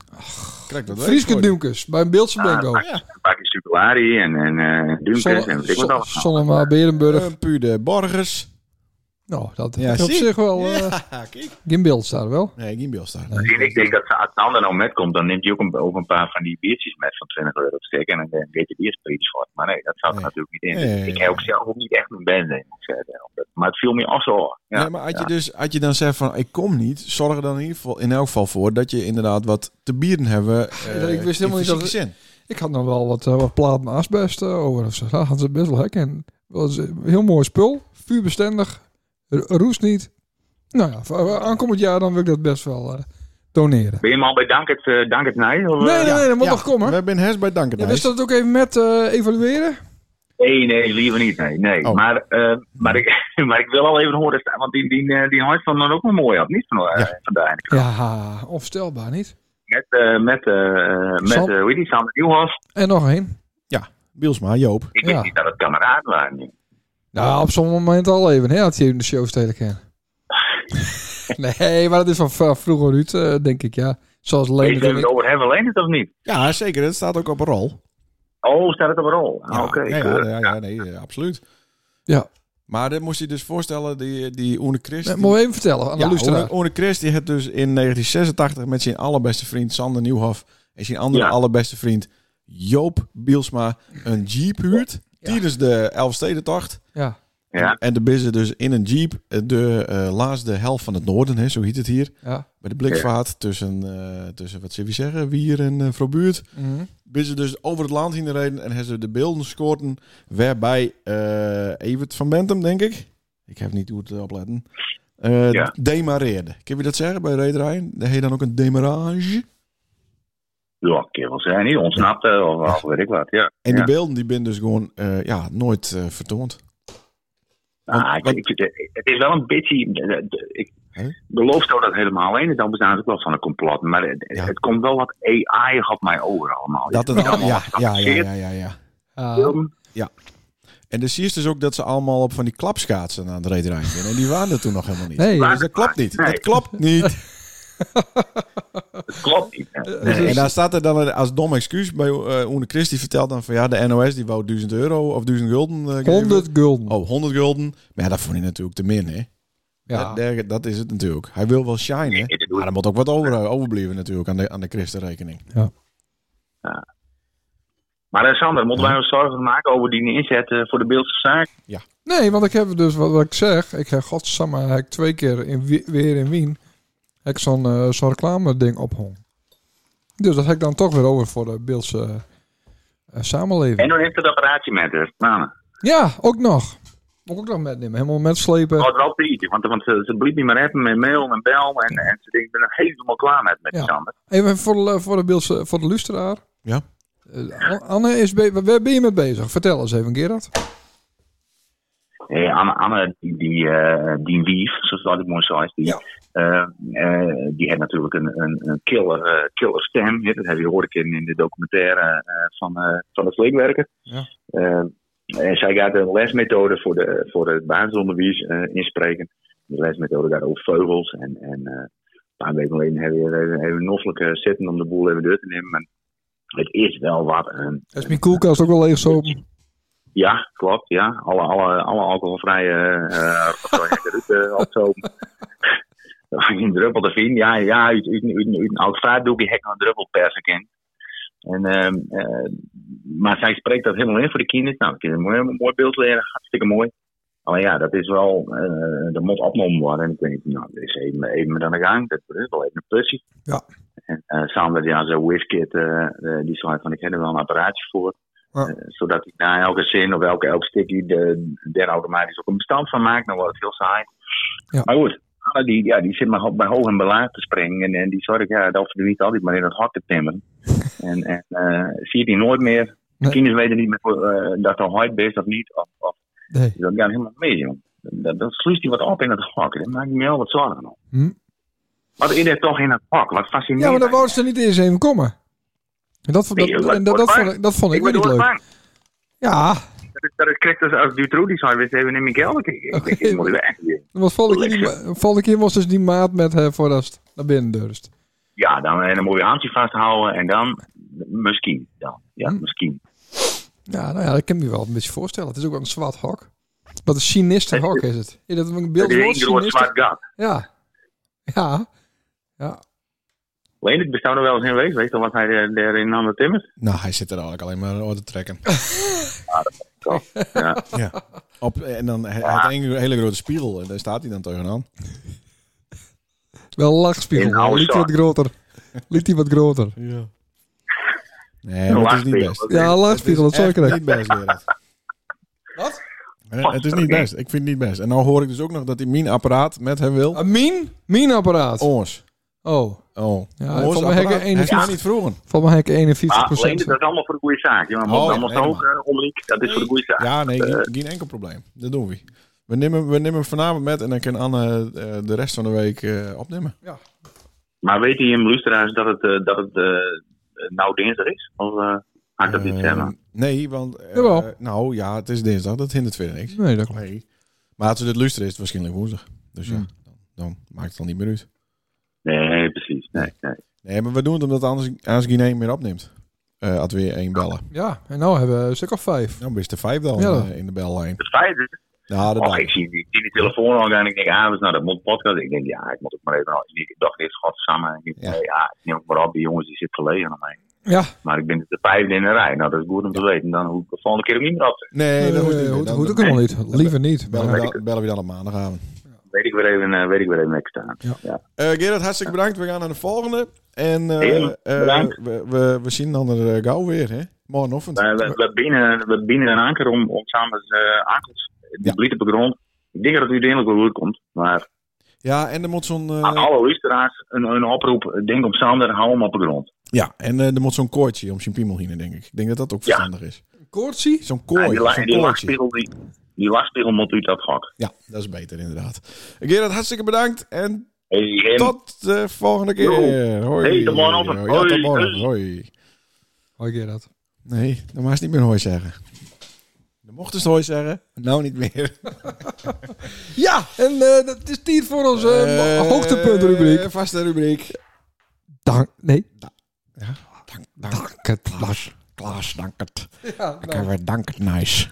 C: Krijg dat wel.
B: Frieske Dumkes, bij een beeldse bingo.
F: Een pakje Sucolari en, en eh Dunkers en weet ik wat allemaal.
B: Sonnema, Berenburg.
C: Puur de Borgers.
B: nou, dat
C: Ehm, Ja,
B: is op
C: zie.
B: zich wel... eh
C: Ja, kijk.
B: geen beeld daar wel.
C: Nee, geen Bilstar.
B: Nee.
F: En ik denk dat ze- als Sander nou met komt, dan neemt hij ook een, ook een paar van die biertjes met van 20 euro stuk en dan eh, weet je de biersprijs voor. Maar nee, dat zou ik
C: Nee.
F: natuurlijk niet in.
C: Nee, nee,
F: ik
C: nee.
F: heb ook zelf ook niet echt mijn band in. moet ik zeggen. Omdat- Maar het viel me af zo. Ja.
C: nee, maar had je, dus, had je dan zegt van ik kom niet, zorg er dan in ieder geval in elk geval voor dat je inderdaad wat te bieden hebben. eh,
B: ik wist
C: in
B: helemaal niet dat-
C: fysieke Zin.
B: Ik had nog wel wat, eh, wat platen asbest eh, over. Dus daar hadden ze best wel hek in. Was een heel mooi spul. Vuurbestendig. r- Roest niet. Nou ja, voor- voor aankomend jaar dan wil ik dat best wel eh, doneren.
F: Ben je hem al bij Dank het, eh, Dank het Nij? Of, eh?
B: Nee, nee, nee, dat moet
C: Ja,
B: nog komen.
C: We hebben in Hers bij Danken.
B: Ja, wist dat ook even met eh, evalueren?
F: Nee, nee, liever niet. Nee, nee.
C: Oh.
F: Maar, eh, maar, ik, maar ik wil al even horen staan, want die, die, eh, die huis van dan ook wel mooi had. Niet van, eh, vandaag.
B: Ja, onvoorstelbaar niet.
F: Met, eh, met, eh, met
B: Sam-
F: eh hoe heet die, Sander Nieuwhof.
B: En nog één.
C: Bielsma, Joop.
F: Ik wist
B: Ja.
F: niet dat het kameraden waren. joh.
B: Nou, op sommige momenten al even. Hè, had je in de show stelen kennen. nee, maar dat is van v- vroeger Ruud, eh, denk ik, ja. Zoals
F: Weet
B: Leen
F: je het
B: en ik.
F: over hebben alleen het of niet?
C: Ja, zeker. Dat staat ook op een rol.
F: Oh, staat het op een rol? Ah,
C: Ja,
F: Oké,
C: ja, ja,
F: keurig.
C: ja, ja, nee, eh, ja, absoluut.
B: Ja.
C: Maar dit moest je dus voorstellen, die, die Oene Christ.
B: Moet je even vertellen aan de
C: ja,
B: luisteraar.
C: Oene, Oene Christ die heeft dus in 1986 met zijn allerbeste vriend Sander Nieuwhof en zijn andere
F: Ja.
C: allerbeste vriend Joop Bielsma een jeep huurt. Tijdens de Elfstedentocht.
B: Ja.
F: Ja.
C: En de bissen dus in een jeep de eh laatste helft van het noorden, hè, zo heet het hier.
B: Ja.
C: Bij de blikvaart tussen, eh, tussen, wat zullen we zeggen, Wier en eh Frobuurt.
B: Mhm.
C: Ben ze dus over het land heen gereden en hebben ze de beelden scoren waarbij eh Evert van Bentum, denk ik, ik heb niet goed eh, opletten, eh,
F: Ja.
C: demareerde. Kun je dat zeggen bij rederijen? Dan heet dan ook een demarage.
F: Ja, kerels zijn niet ontsnapte of, of weet ik wat. Ja.
C: En
F: ja.
C: die beelden die ben dus gewoon eh, ja, nooit eh, vertoond.
F: Ah, ik,
C: want-
F: ik, ik- het is wel een beetje. eh, Ik
C: Hè?
F: beloof zo dat helemaal alleen. Dan bestaat ook wel van een complot. Maar het,
C: Ja.
F: het komt wel wat AI op mij over allemaal.
C: Dat het
F: is
C: ja,
F: allemaal
C: ja,
F: wat
C: ja,
F: gefabriceerd.
C: ja, ja, ja.
B: Ah.
C: En dan zie je dus ook dat ze allemaal op van die klapschaatsen aan het rederij zijn. En die waren er toen nog helemaal niet.
B: Nee,
C: Dus dat klopt niet.
F: Nee.
C: Dat klopt niet.
F: Het klopt niet. hè.
C: Nee,
B: Dus-
C: en daar staat er dan een- als dom excuus bij eh Oene Christ. Die vertelt dan van ja, de NOS die wou 1000 euro of 1000 gulden. eh, geven.
B: 100 gulden.
C: Oh, 100 gulden. Maar ja, dat vond hij natuurlijk te min, hè?
B: ja.
C: Dat, daar- dat is het natuurlijk. Hij wil wel shinen.
F: dat doe ik.
C: Maar er moet ook wat over, eh, overblijven natuurlijk aan de, aan de Christenrekening.
F: Maar eh, Sander, moeten wij ons zorgen maken over die inzet eh, voor de beeldse zaak?
B: Nee, want ik heb dus wat, wat ik zeg. Ik heb godsamme heb ik twee keer in, Wi- weer in Wien heb ik zo'n eh, zo'n reclame ding ophong. Dus dat heb ik dan toch weer over voor de Beeldse eh, samenleving.
F: En dan heeft het apparaatje met haar. Nou,
B: Ja, ook nog. Moet ik ook nog metnemen. Helemaal metslepen.
F: dat wel pietje. Want, want ze, ze bliep niet meer even met mail en bel. En, en ze denkt, ik ben er helemaal klaar met, met die
B: Ja.
F: Sander.
B: Even voor de, voor de, Beeldse, voor de luisteraar.
C: Ja.
B: Eh, Anne, is be- waar ben je mee bezig? Vertel eens even, Gerard.
F: Hey, Anne, Anne, die, die, eh die Wief, zoals dat ik mooi zei, die,
B: Ja.
F: eh, eh, die heeft natuurlijk een, een, een killer, eh, killer stem. hè. Dat heb je hoorde ik in, in de documentaire eh, van, eh, van de Sleekwerker.
C: Ja.
F: Eh, en zij gaat een lesmethode voor, de, voor het basisonderwijs eh, inspreken. De lesmethode gaat over vogels. En, en eh, een paar weken geleden hebben we, hebben we een noffelijke zitten om de boel even door te nemen. Maar het is wel wat een
B: Is mijn koelkast ook wel leeg zo?
F: ja, klopt. Ja. Alle, alle, alle alcoholvrije eh producten of zo. Een druppel te vinden. Ja, ja uit, uit, uit, uit een oud vaatdoekje hek nog een druppel persen in. En, ehm, eh, maar zij spreekt dat helemaal in voor de kinderen. Nou, kinderen moet een mooi beeld leren. Hartstikke mooi. Alleen ja, dat is wel... eh dat moet opgenomen worden. En ik weet niet, nou, dat is even, even aan de gang. Dat is wel even een plusje.
B: Ja.
F: En eh, samen met ja, zo'n Wizkid, eh, eh, die zei van ik heb er wel een apparaatje voor.
B: Ja.
F: Eh, zodat hij na elke zin of elke, elk stukje de, daar automatisch ook een bestand van maakt. Dan wordt het heel saai.
B: Ja.
F: Maar goed, Anne die, ja, die zit maar ho- bij hoog en belaag te springen. En, en die zorgt ja, dat we er niet altijd maar in het hok te timmeren. en en eh, zie je die nooit meer.
B: Nee.
F: De kinderen weten niet meer eh, dat er hard is of niet. Of, of,
B: Nee.
F: dat gaat helemaal mee, joh. Dat, dat sluist hij wat op in het hok. Daar maak ik me heel wat zorgen om.
B: Hm.
F: Wat is er toch in het hok? Wat fascineert
B: Ja, maar
F: mij?
B: dan wou ze er niet eens even komen. En dat, dat,
F: Nee,
B: en dat,
F: wat-
B: dat,
F: wat
B: vond,
F: waar?
B: ik, dat vond ik,
F: Ik
B: weer
F: ben
B: niet leuk.
F: doodsbang.
B: Ja,
F: Dat- Dat krijgt dus als Dutroux die zijn, wist even in mijn kelder. Ik- ik-
B: Oké.
F: Ik moet weg.
B: dan was volgende keer, die- volgende keer was dus die maat met eh voor dat naar binnen durst.
F: Ja, dan, en dan moet je handje vasthouden en dan misschien. Dan. Ja,
C: Hm.
F: misschien.
B: Ja, nou ja, dat kan ik me wel een beetje voorstellen. Het is ook wel een zwart hok. Wat een sinister hok is het. Is dat een
F: Dat
B: beeld
F: is
B: woord,
F: één groot
B: sinister?
F: zwart gat.
B: Ja. Ja. Ja.
F: Alleen het bestaat nog wel eens in wees, weet je wat hij eh, daar- daar in handen timmert?
C: Nou, hij zit er eigenlijk alleen maar aan te trekken.
F: Ja.
C: ja. Op, en dan hij had een hele grote spiegel en daar staat hij dan tegenaan.
B: Wel een
F: In
B: lachspiegel.
F: oude
B: Liet die
F: zak.
B: wat groter. Liet die wat groter.
C: Ja. Nee, maar het is niet best.
B: Ja, een lachspiegel, dat zou ik
C: Echt
B: krijgen.
C: niet best, Gerard.
B: Wat?
C: Eh, Het is niet best. Ik vind het niet best. En nou hoor ik dus ook nog dat hij mijn apparaat met hem wil.
B: Een min? Min-apparaat. Oh.
C: Ons. Ah, Oh.
B: Ja,
C: Ons
B: van mijn hekken
C: apparaat. Hij
B: energie-
C: kan niet vroegen.
B: Van mij heb ik 51%.
F: Maar alleen, dat is allemaal voor de goede zaak. jongen.
C: Oh,
F: dan moet
C: ja,
F: ook, eh, Omrik, dat is voor de goede zaak.
C: Ja, nee, geen, geen enkel probleem. Dat doen we. We nemen, we nemen hem vanavond met en dan kan Anne eh, de rest van de week eh, opnemen.
F: Maar weet hij in luisteraars dat het, eh, dat het eh, nou dinsdag is? Of eh had ik dat niet
C: Eh,
F: zeggen?
C: nee, want... eh,
B: Jawel.
C: nou ja, het is dinsdag. Dat hindert verder niks.
B: Nee, Hmm. dat klopt.
C: Nee. Maar als het het luisteren is, het waarschijnlijk woensdag. Dus ja, dan, dan maakt het al niet meer uit.
F: Nee, precies. Nee, nee.
C: Nee, maar we doen het omdat anders, anders geen één meer opneemt. Eh als weer één bellen.
B: Ja, en nou hebben we een stuk of vijf.
C: Nou, best de vijf dan
B: Ja.
C: eh, in de bellijn. Nou,
F: Het feit is,
C: Ja, dat
F: oh,
C: dacht
F: ik
C: ik.
F: zie die, zie die telefoon al gaan en ik denk, ah, dus nou, dat moet podcast. Ik denk, ja, ik moet ook maar even... Ik dacht eerst, godsamme. Ik
C: Ja.
F: denk, ja, ik neem ook maar op, die jongens, die zitten gelegen aan mij.
B: Ja,
F: Maar ik ben de vijfde in de rij. Nou, dat is goed om te weten. Dan hoef ik de volgende keer ook niet meer op te
C: Nee, dat
B: eh,
C: hoeft niet meer.
B: hoe-
C: Dan-
B: hoe ook
C: dan
B: helemaal niet. Liever niet.
C: bellen,
B: Maar-
C: we dan, bellen we dan op maandagavond.
F: Weet ik weer even, eh, weet ik weer even lekker staan.
B: Ja.
F: Ja.
C: Eh Gerard, hartstikke bedankt. We gaan naar de volgende. En eh,
F: Heel,
C: eh,
F: bedankt.
C: we, we, we zien dan er eh, gauw weer, hè? Morgenochtend.
F: We, we, we binnen, we binnen een anker om, om samen eh ankels. Die
C: Ja.
F: bliet op de grond. Ik denk dat het uiteindelijk wel goed komt. Maar
C: Ja, en er moet zo'n... eh,
F: aan alle luisteraars een, een oproep. Denk om Sander, hou hem op de grond.
C: ja, en eh, er moet zo'n koortje om zijn piemel heen, denk ik. Ik denk dat dat ook
F: Ja.
C: verstandig is.
B: Koortsie?
C: Zo'n
F: En
C: kooi,
F: die, la-
C: zo'n
F: die,
C: koortje.
F: lachspiegel, die, die lachspiegel moet uit dat gok.
C: Ja, dat is beter inderdaad. Gerard, hartstikke bedankt en
F: Hey, en-
C: tot de volgende keer. Hoi.
F: Hey, tot morgenochtend.
C: Ja, tot
F: Hoi.
C: morgen. Hoi.
B: Hoi Gerard.
C: Nee, dan mag je niet meer hoi zeggen. Dan mochten ze hoi zeggen, nou niet meer.
B: Ja, en eh, dat is tijd voor onze hoogtepunt hoogtepuntrubriek.
C: Eh, Vaste rubriek.
B: Dank, nee.
C: Dank, dank,
B: het
C: Klaas. Klaas, dank het.
B: Ja,
C: Ik
B: nou.
C: heb weer dank het nice.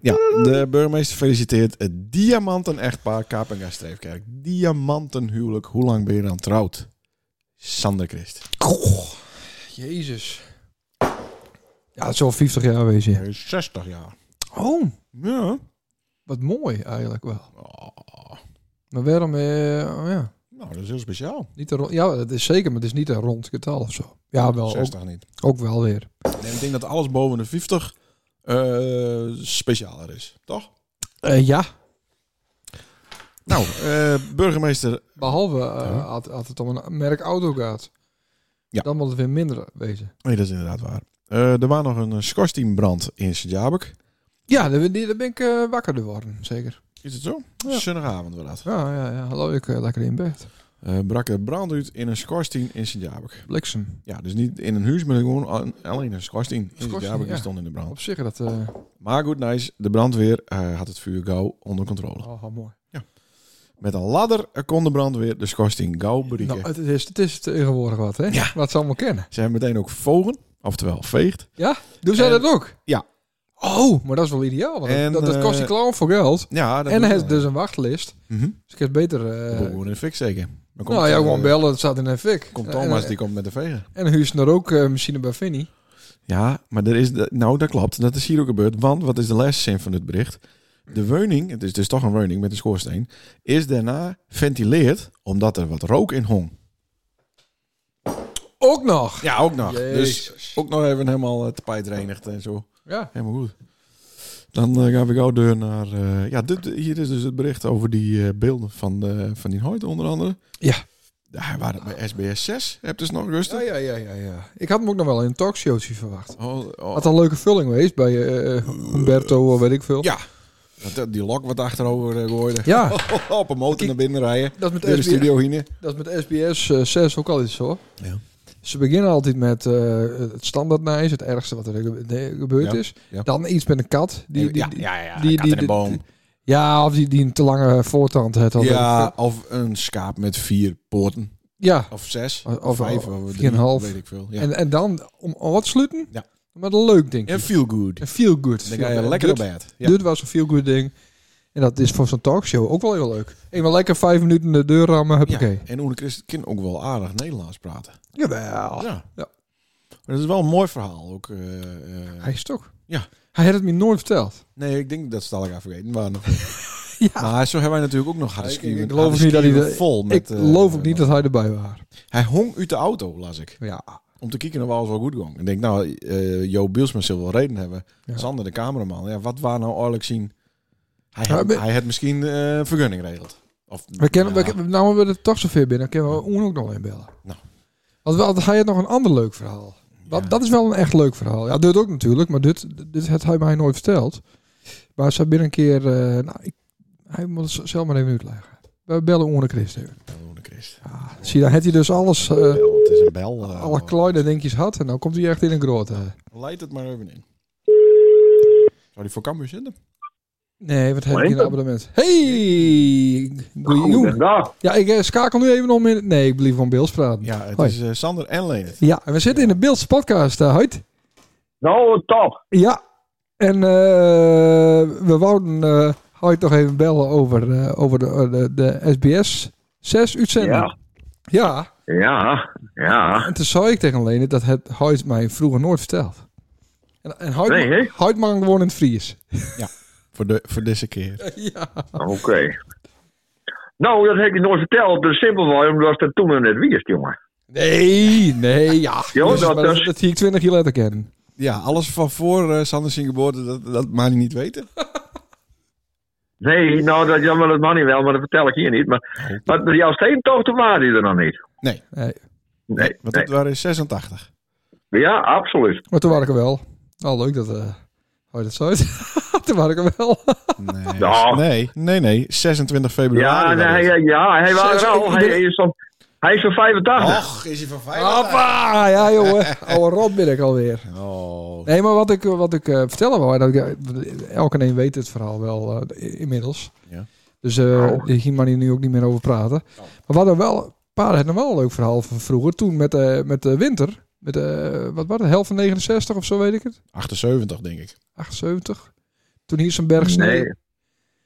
C: Ja, de burgemeester feliciteert het diamanten-echtpaar Kapinga-Streefkerk. Diamantenhuwelijk. Hoe lang ben je dan trouwd? Sander Christ.
B: Goh, jezus. Ja, het zal 50 jaar wezen. ja.
C: Hij is 60 jaar.
B: Oh,
C: Ja.
B: wat mooi eigenlijk wel.
C: Oh,
B: Maar waarom, eh, oh ja,
C: nou, dat is heel speciaal.
B: niet een rond, ja, dat is zeker, maar het is niet een rond getal of zo. Ja, wel, ook,
C: 60 niet.
B: ook wel weer.
C: Nee, ik denk dat alles boven de 50 eh, specialer is, toch?
B: Eh, ja,
C: Nou, eh, burgemeester...
B: behalve eh, als als het om een merk auto gaat.
C: Ja.
B: Dan moet het weer minder wezen.
C: Nee, dat is inderdaad waar. Eh, er was nog een eh, scorsteambrand in Sint-Jabek.
B: Ja, daar ben, die- daar ben ik eh, wakker geworden, zeker.
C: Is het zo?
B: Ja.
C: Zondagavond was dat.
B: Ja, ja, ja. Hallo, ik eh, lekker in bed.
C: Eh, brak er brand uit in een skorstien in Sint-Jabek.
B: Bliksem.
C: Ja, dus niet in een huis, maar gewoon al- alleen een skorstien in Sint-Jabek die
B: ja.
C: stond in de brand.
B: Op zich, dat... eh
C: Maar goed, nice. De brandweer eh, had het vuur gauw onder controle.
B: oh, mooi.
C: Met een ladder eh, kon de brandweer de skorstien gauw bereiken.
B: Nou, het is, het is tegenwoordig wat, hè?
C: Ja.
B: Wat ze allemaal kennen.
C: Ze hebben meteen ook vogen, oftewel veegd.
B: Doen zij
C: En-
B: dat ook?
C: ja.
B: Oh, maar dat is wel ideaal. Want
C: En,
B: dat, dat kost je
C: eh,
B: klauwen voor geld.
C: Ja,
B: En
C: dat doen
B: hij
C: ze
B: heeft
C: dan.
B: dus een wachtlist.
C: Mhm.
B: Dus ik heb beter... eh,
C: Boven in de fik zeker. Dan komt,
B: nou ja,
C: eh,
B: gewoon bellen. Het staat in een fik.
C: Komt
B: En-
C: Thomas, die komt met de veger.
B: En huur ze er ook eh, machine bij Vinnie.
C: Ja, maar er is, de- nou dat klopt. Dat is hier ook gebeurd. Want wat is de lesszin van dit bericht? De woning, het is dus toch een woning met een schoorsteen, is daarna ventileerd omdat er wat rook in hong.
B: Ook nog.
C: Ja, ook nog.
B: Jezus.
C: Dus ook nog even helemaal het tapijt reinigd en zo.
B: Ja.
C: Helemaal goed. Dan eh, gaan we gauw door naar... eh, ja, dit, hier is dus het bericht over die eh, beelden van, eh, van die Hoyt onder andere.
B: Ja.
C: Daar waren het bij SBS 6. Heb dus nog rustig.
B: Ja, ja, ja, ja, ja. Ik had hem ook nog wel in een talkshowtje verwacht.
C: Oh, oh.
B: Had al een leuke vulling geweest bij eh, Humberto of weet ik veel.
C: Ja. Dat- Die lok wat achterover eh, gooide.
B: Ja.
C: Op een motor naar binnen rijden.
B: Dat is
C: Door de
B: met SBS,
C: studio heen.
B: dat is met SBS eh, 6 ook al iets hoor.
C: Ja.
B: Ze beginnen altijd met eh, het standaard nice, het ergste wat er gebe- gebeurd
C: Ja,
B: is.
C: ja.
B: Dan iets met een kat. Die, die,
C: Ja,
B: die-
C: ja, ja.
B: die-
C: Die,
B: die-
C: in de
B: die-
C: boom.
B: ja, of die, die een te lange voortand had. Of
C: Ja, of een schaap met vier poorten.
B: ja.
C: Of zes.
B: Of-
C: Of,
B: of-
C: vijf.
B: of
C: Of,
B: vier
C: drie,
B: en half.
C: Weet ik veel. Ja.
B: En, en dan om om wat te sluiten.
C: Ja.
B: Met een leuk ding.
C: En feel good.
B: Een feel good.
C: Dan ga je lekker op bed. Ja.
B: Dit was een feel good ding. En dat is voor zo'n talkshow ook wel heel leuk. Even lekker vijf minuten de deur rammen. Huppakee.
C: Ja. En Oene Christen kan ook wel aardig Nederlands praten.
B: Jawel.
C: Ja.
B: Ah, Ja.
C: Maar dat is wel een mooi verhaal. Ook, eh, eh.
B: Hij is toch?
C: Ja.
B: Hij had het me nooit verteld.
C: nee, ik denk dat ze het al gaan vergeten. Maar, nog-
B: Ja.
C: maar zo hebben wij natuurlijk ook nog harde
B: Ik- ik
C: schieven.
B: geloof
C: harde
B: niet dat hij
C: schieven
B: de-
C: vol met,
B: ik
C: eh,
B: geloof ook niet dat hij erbij was.
C: Hij hong uit de auto, las ik.
B: Ja.
C: om te kijken of alles wel goed ging. Ik denk, nou, eh Jo Bielsma zal wel reden hebben.
B: Ja.
C: Sander, de cameraman. Ja, wat waar nou eigenlijk zien? Hij
B: Ja,
C: had,
B: maar-
C: hij had misschien eh, een vergunning geregeld. Of,
B: We kennen,
C: ja,
B: we, kennen- nou we er toch zover binnen, kunnen we Oen ook nog een bellen.
C: Nou.
B: Want wel, hij had nog een ander leuk verhaal. Dat, dat is wel een echt leuk verhaal. Ja, dit ook natuurlijk, maar dit, dit had hij mij nooit verteld. Maar ze binnen een keer... eh, nou, ik, hij moet het zelf maar even uitleggen. We bellen Oen en Christen.
C: bel de Christ.
B: Ah, Zie, dan had hij dus alles, eh,
C: Bel, het is een bel. eh,
B: alle kleine dingetjes had. En dan komt hij echt in een grote.
C: Leid het maar even in. Zou die voor Cambuur zitten?
B: Nee, wat heb ik
G: Hoi.
B: in een abonnement? Hey! Goeie
E: Goedendag.
B: Ja, ik eh, schakel nu even om in... Nee, ik blijf van Beels praten. Ja.
C: Ja, het
B: Hoi.
C: is eh, Sander en Leendert.
B: en we zitten in de Beels podcast, eh, Huid.
E: Nou, top.
B: Ja. En eh, we wouden eh Huid nog even bellen over, eh, over de, eh, de, de SBS 6 uitzending.
E: Ja.
B: Ja,
F: Ja, ja.
B: en toen zei ik tegen Lene dat het Huid mij vroeger nooit verteld. En, en Huid,
F: Nee, hè?
B: Huid mag gewoon in het Fries.
C: Voor, de, voor deze keer.
B: ja.
F: Oké. Nou, dat heb ik nooit verteld. Dus simpelweg omdat dat toen nog net wist, jongen.
B: Nee, nee, ja.
F: Jo,
B: Dus,
F: dat
B: maar
F: is-
B: dat zie ik 20 jaar later kennen.
C: Ja, alles van voor eh Sander zijn geboorte, dat, dat mag hij niet weten.
F: Nee, nou, dat, jammer, dat mag niet wel, maar dat vertel ik hier niet. Maar, maar met jouw steentochten waren die er nog niet.
B: Nee,
F: Nee,
C: Want
F: nee.
C: dat waren 86.
F: Ja, absoluut.
B: maar toen was ik er wel. Nou, leuk dat... eh hoe je dat zo Toen was ik er wel.
C: Nee,
F: Ja.
C: nee, nee, nee. 26 februari.
F: Ja,
C: was
F: nee,
C: het.
F: ja, ja, hij was er al.
B: Ik ben-
F: Hij is van, hij is van 85.
C: Och, is hij van
B: Papa! Ja, jongen. Oude rot ben ik alweer.
C: Oh.
B: Nee, maar wat ik, wat ik eh, vertellen wou... Dat ik, eh, elke een weet het verhaal wel eh, i- inmiddels.
C: Ja.
B: Dus eh hier mag hier nu ook niet meer over praten. Maar wat er wel... Een paar hadden wel een leuk verhaal van vroeger. Toen met, eh, met de winter. Met, eh wat was het? Helft van 69 of zo, weet ik het.
C: 78, denk ik.
B: 78. Toen hier zo'n berg sneeuw.
F: Nee.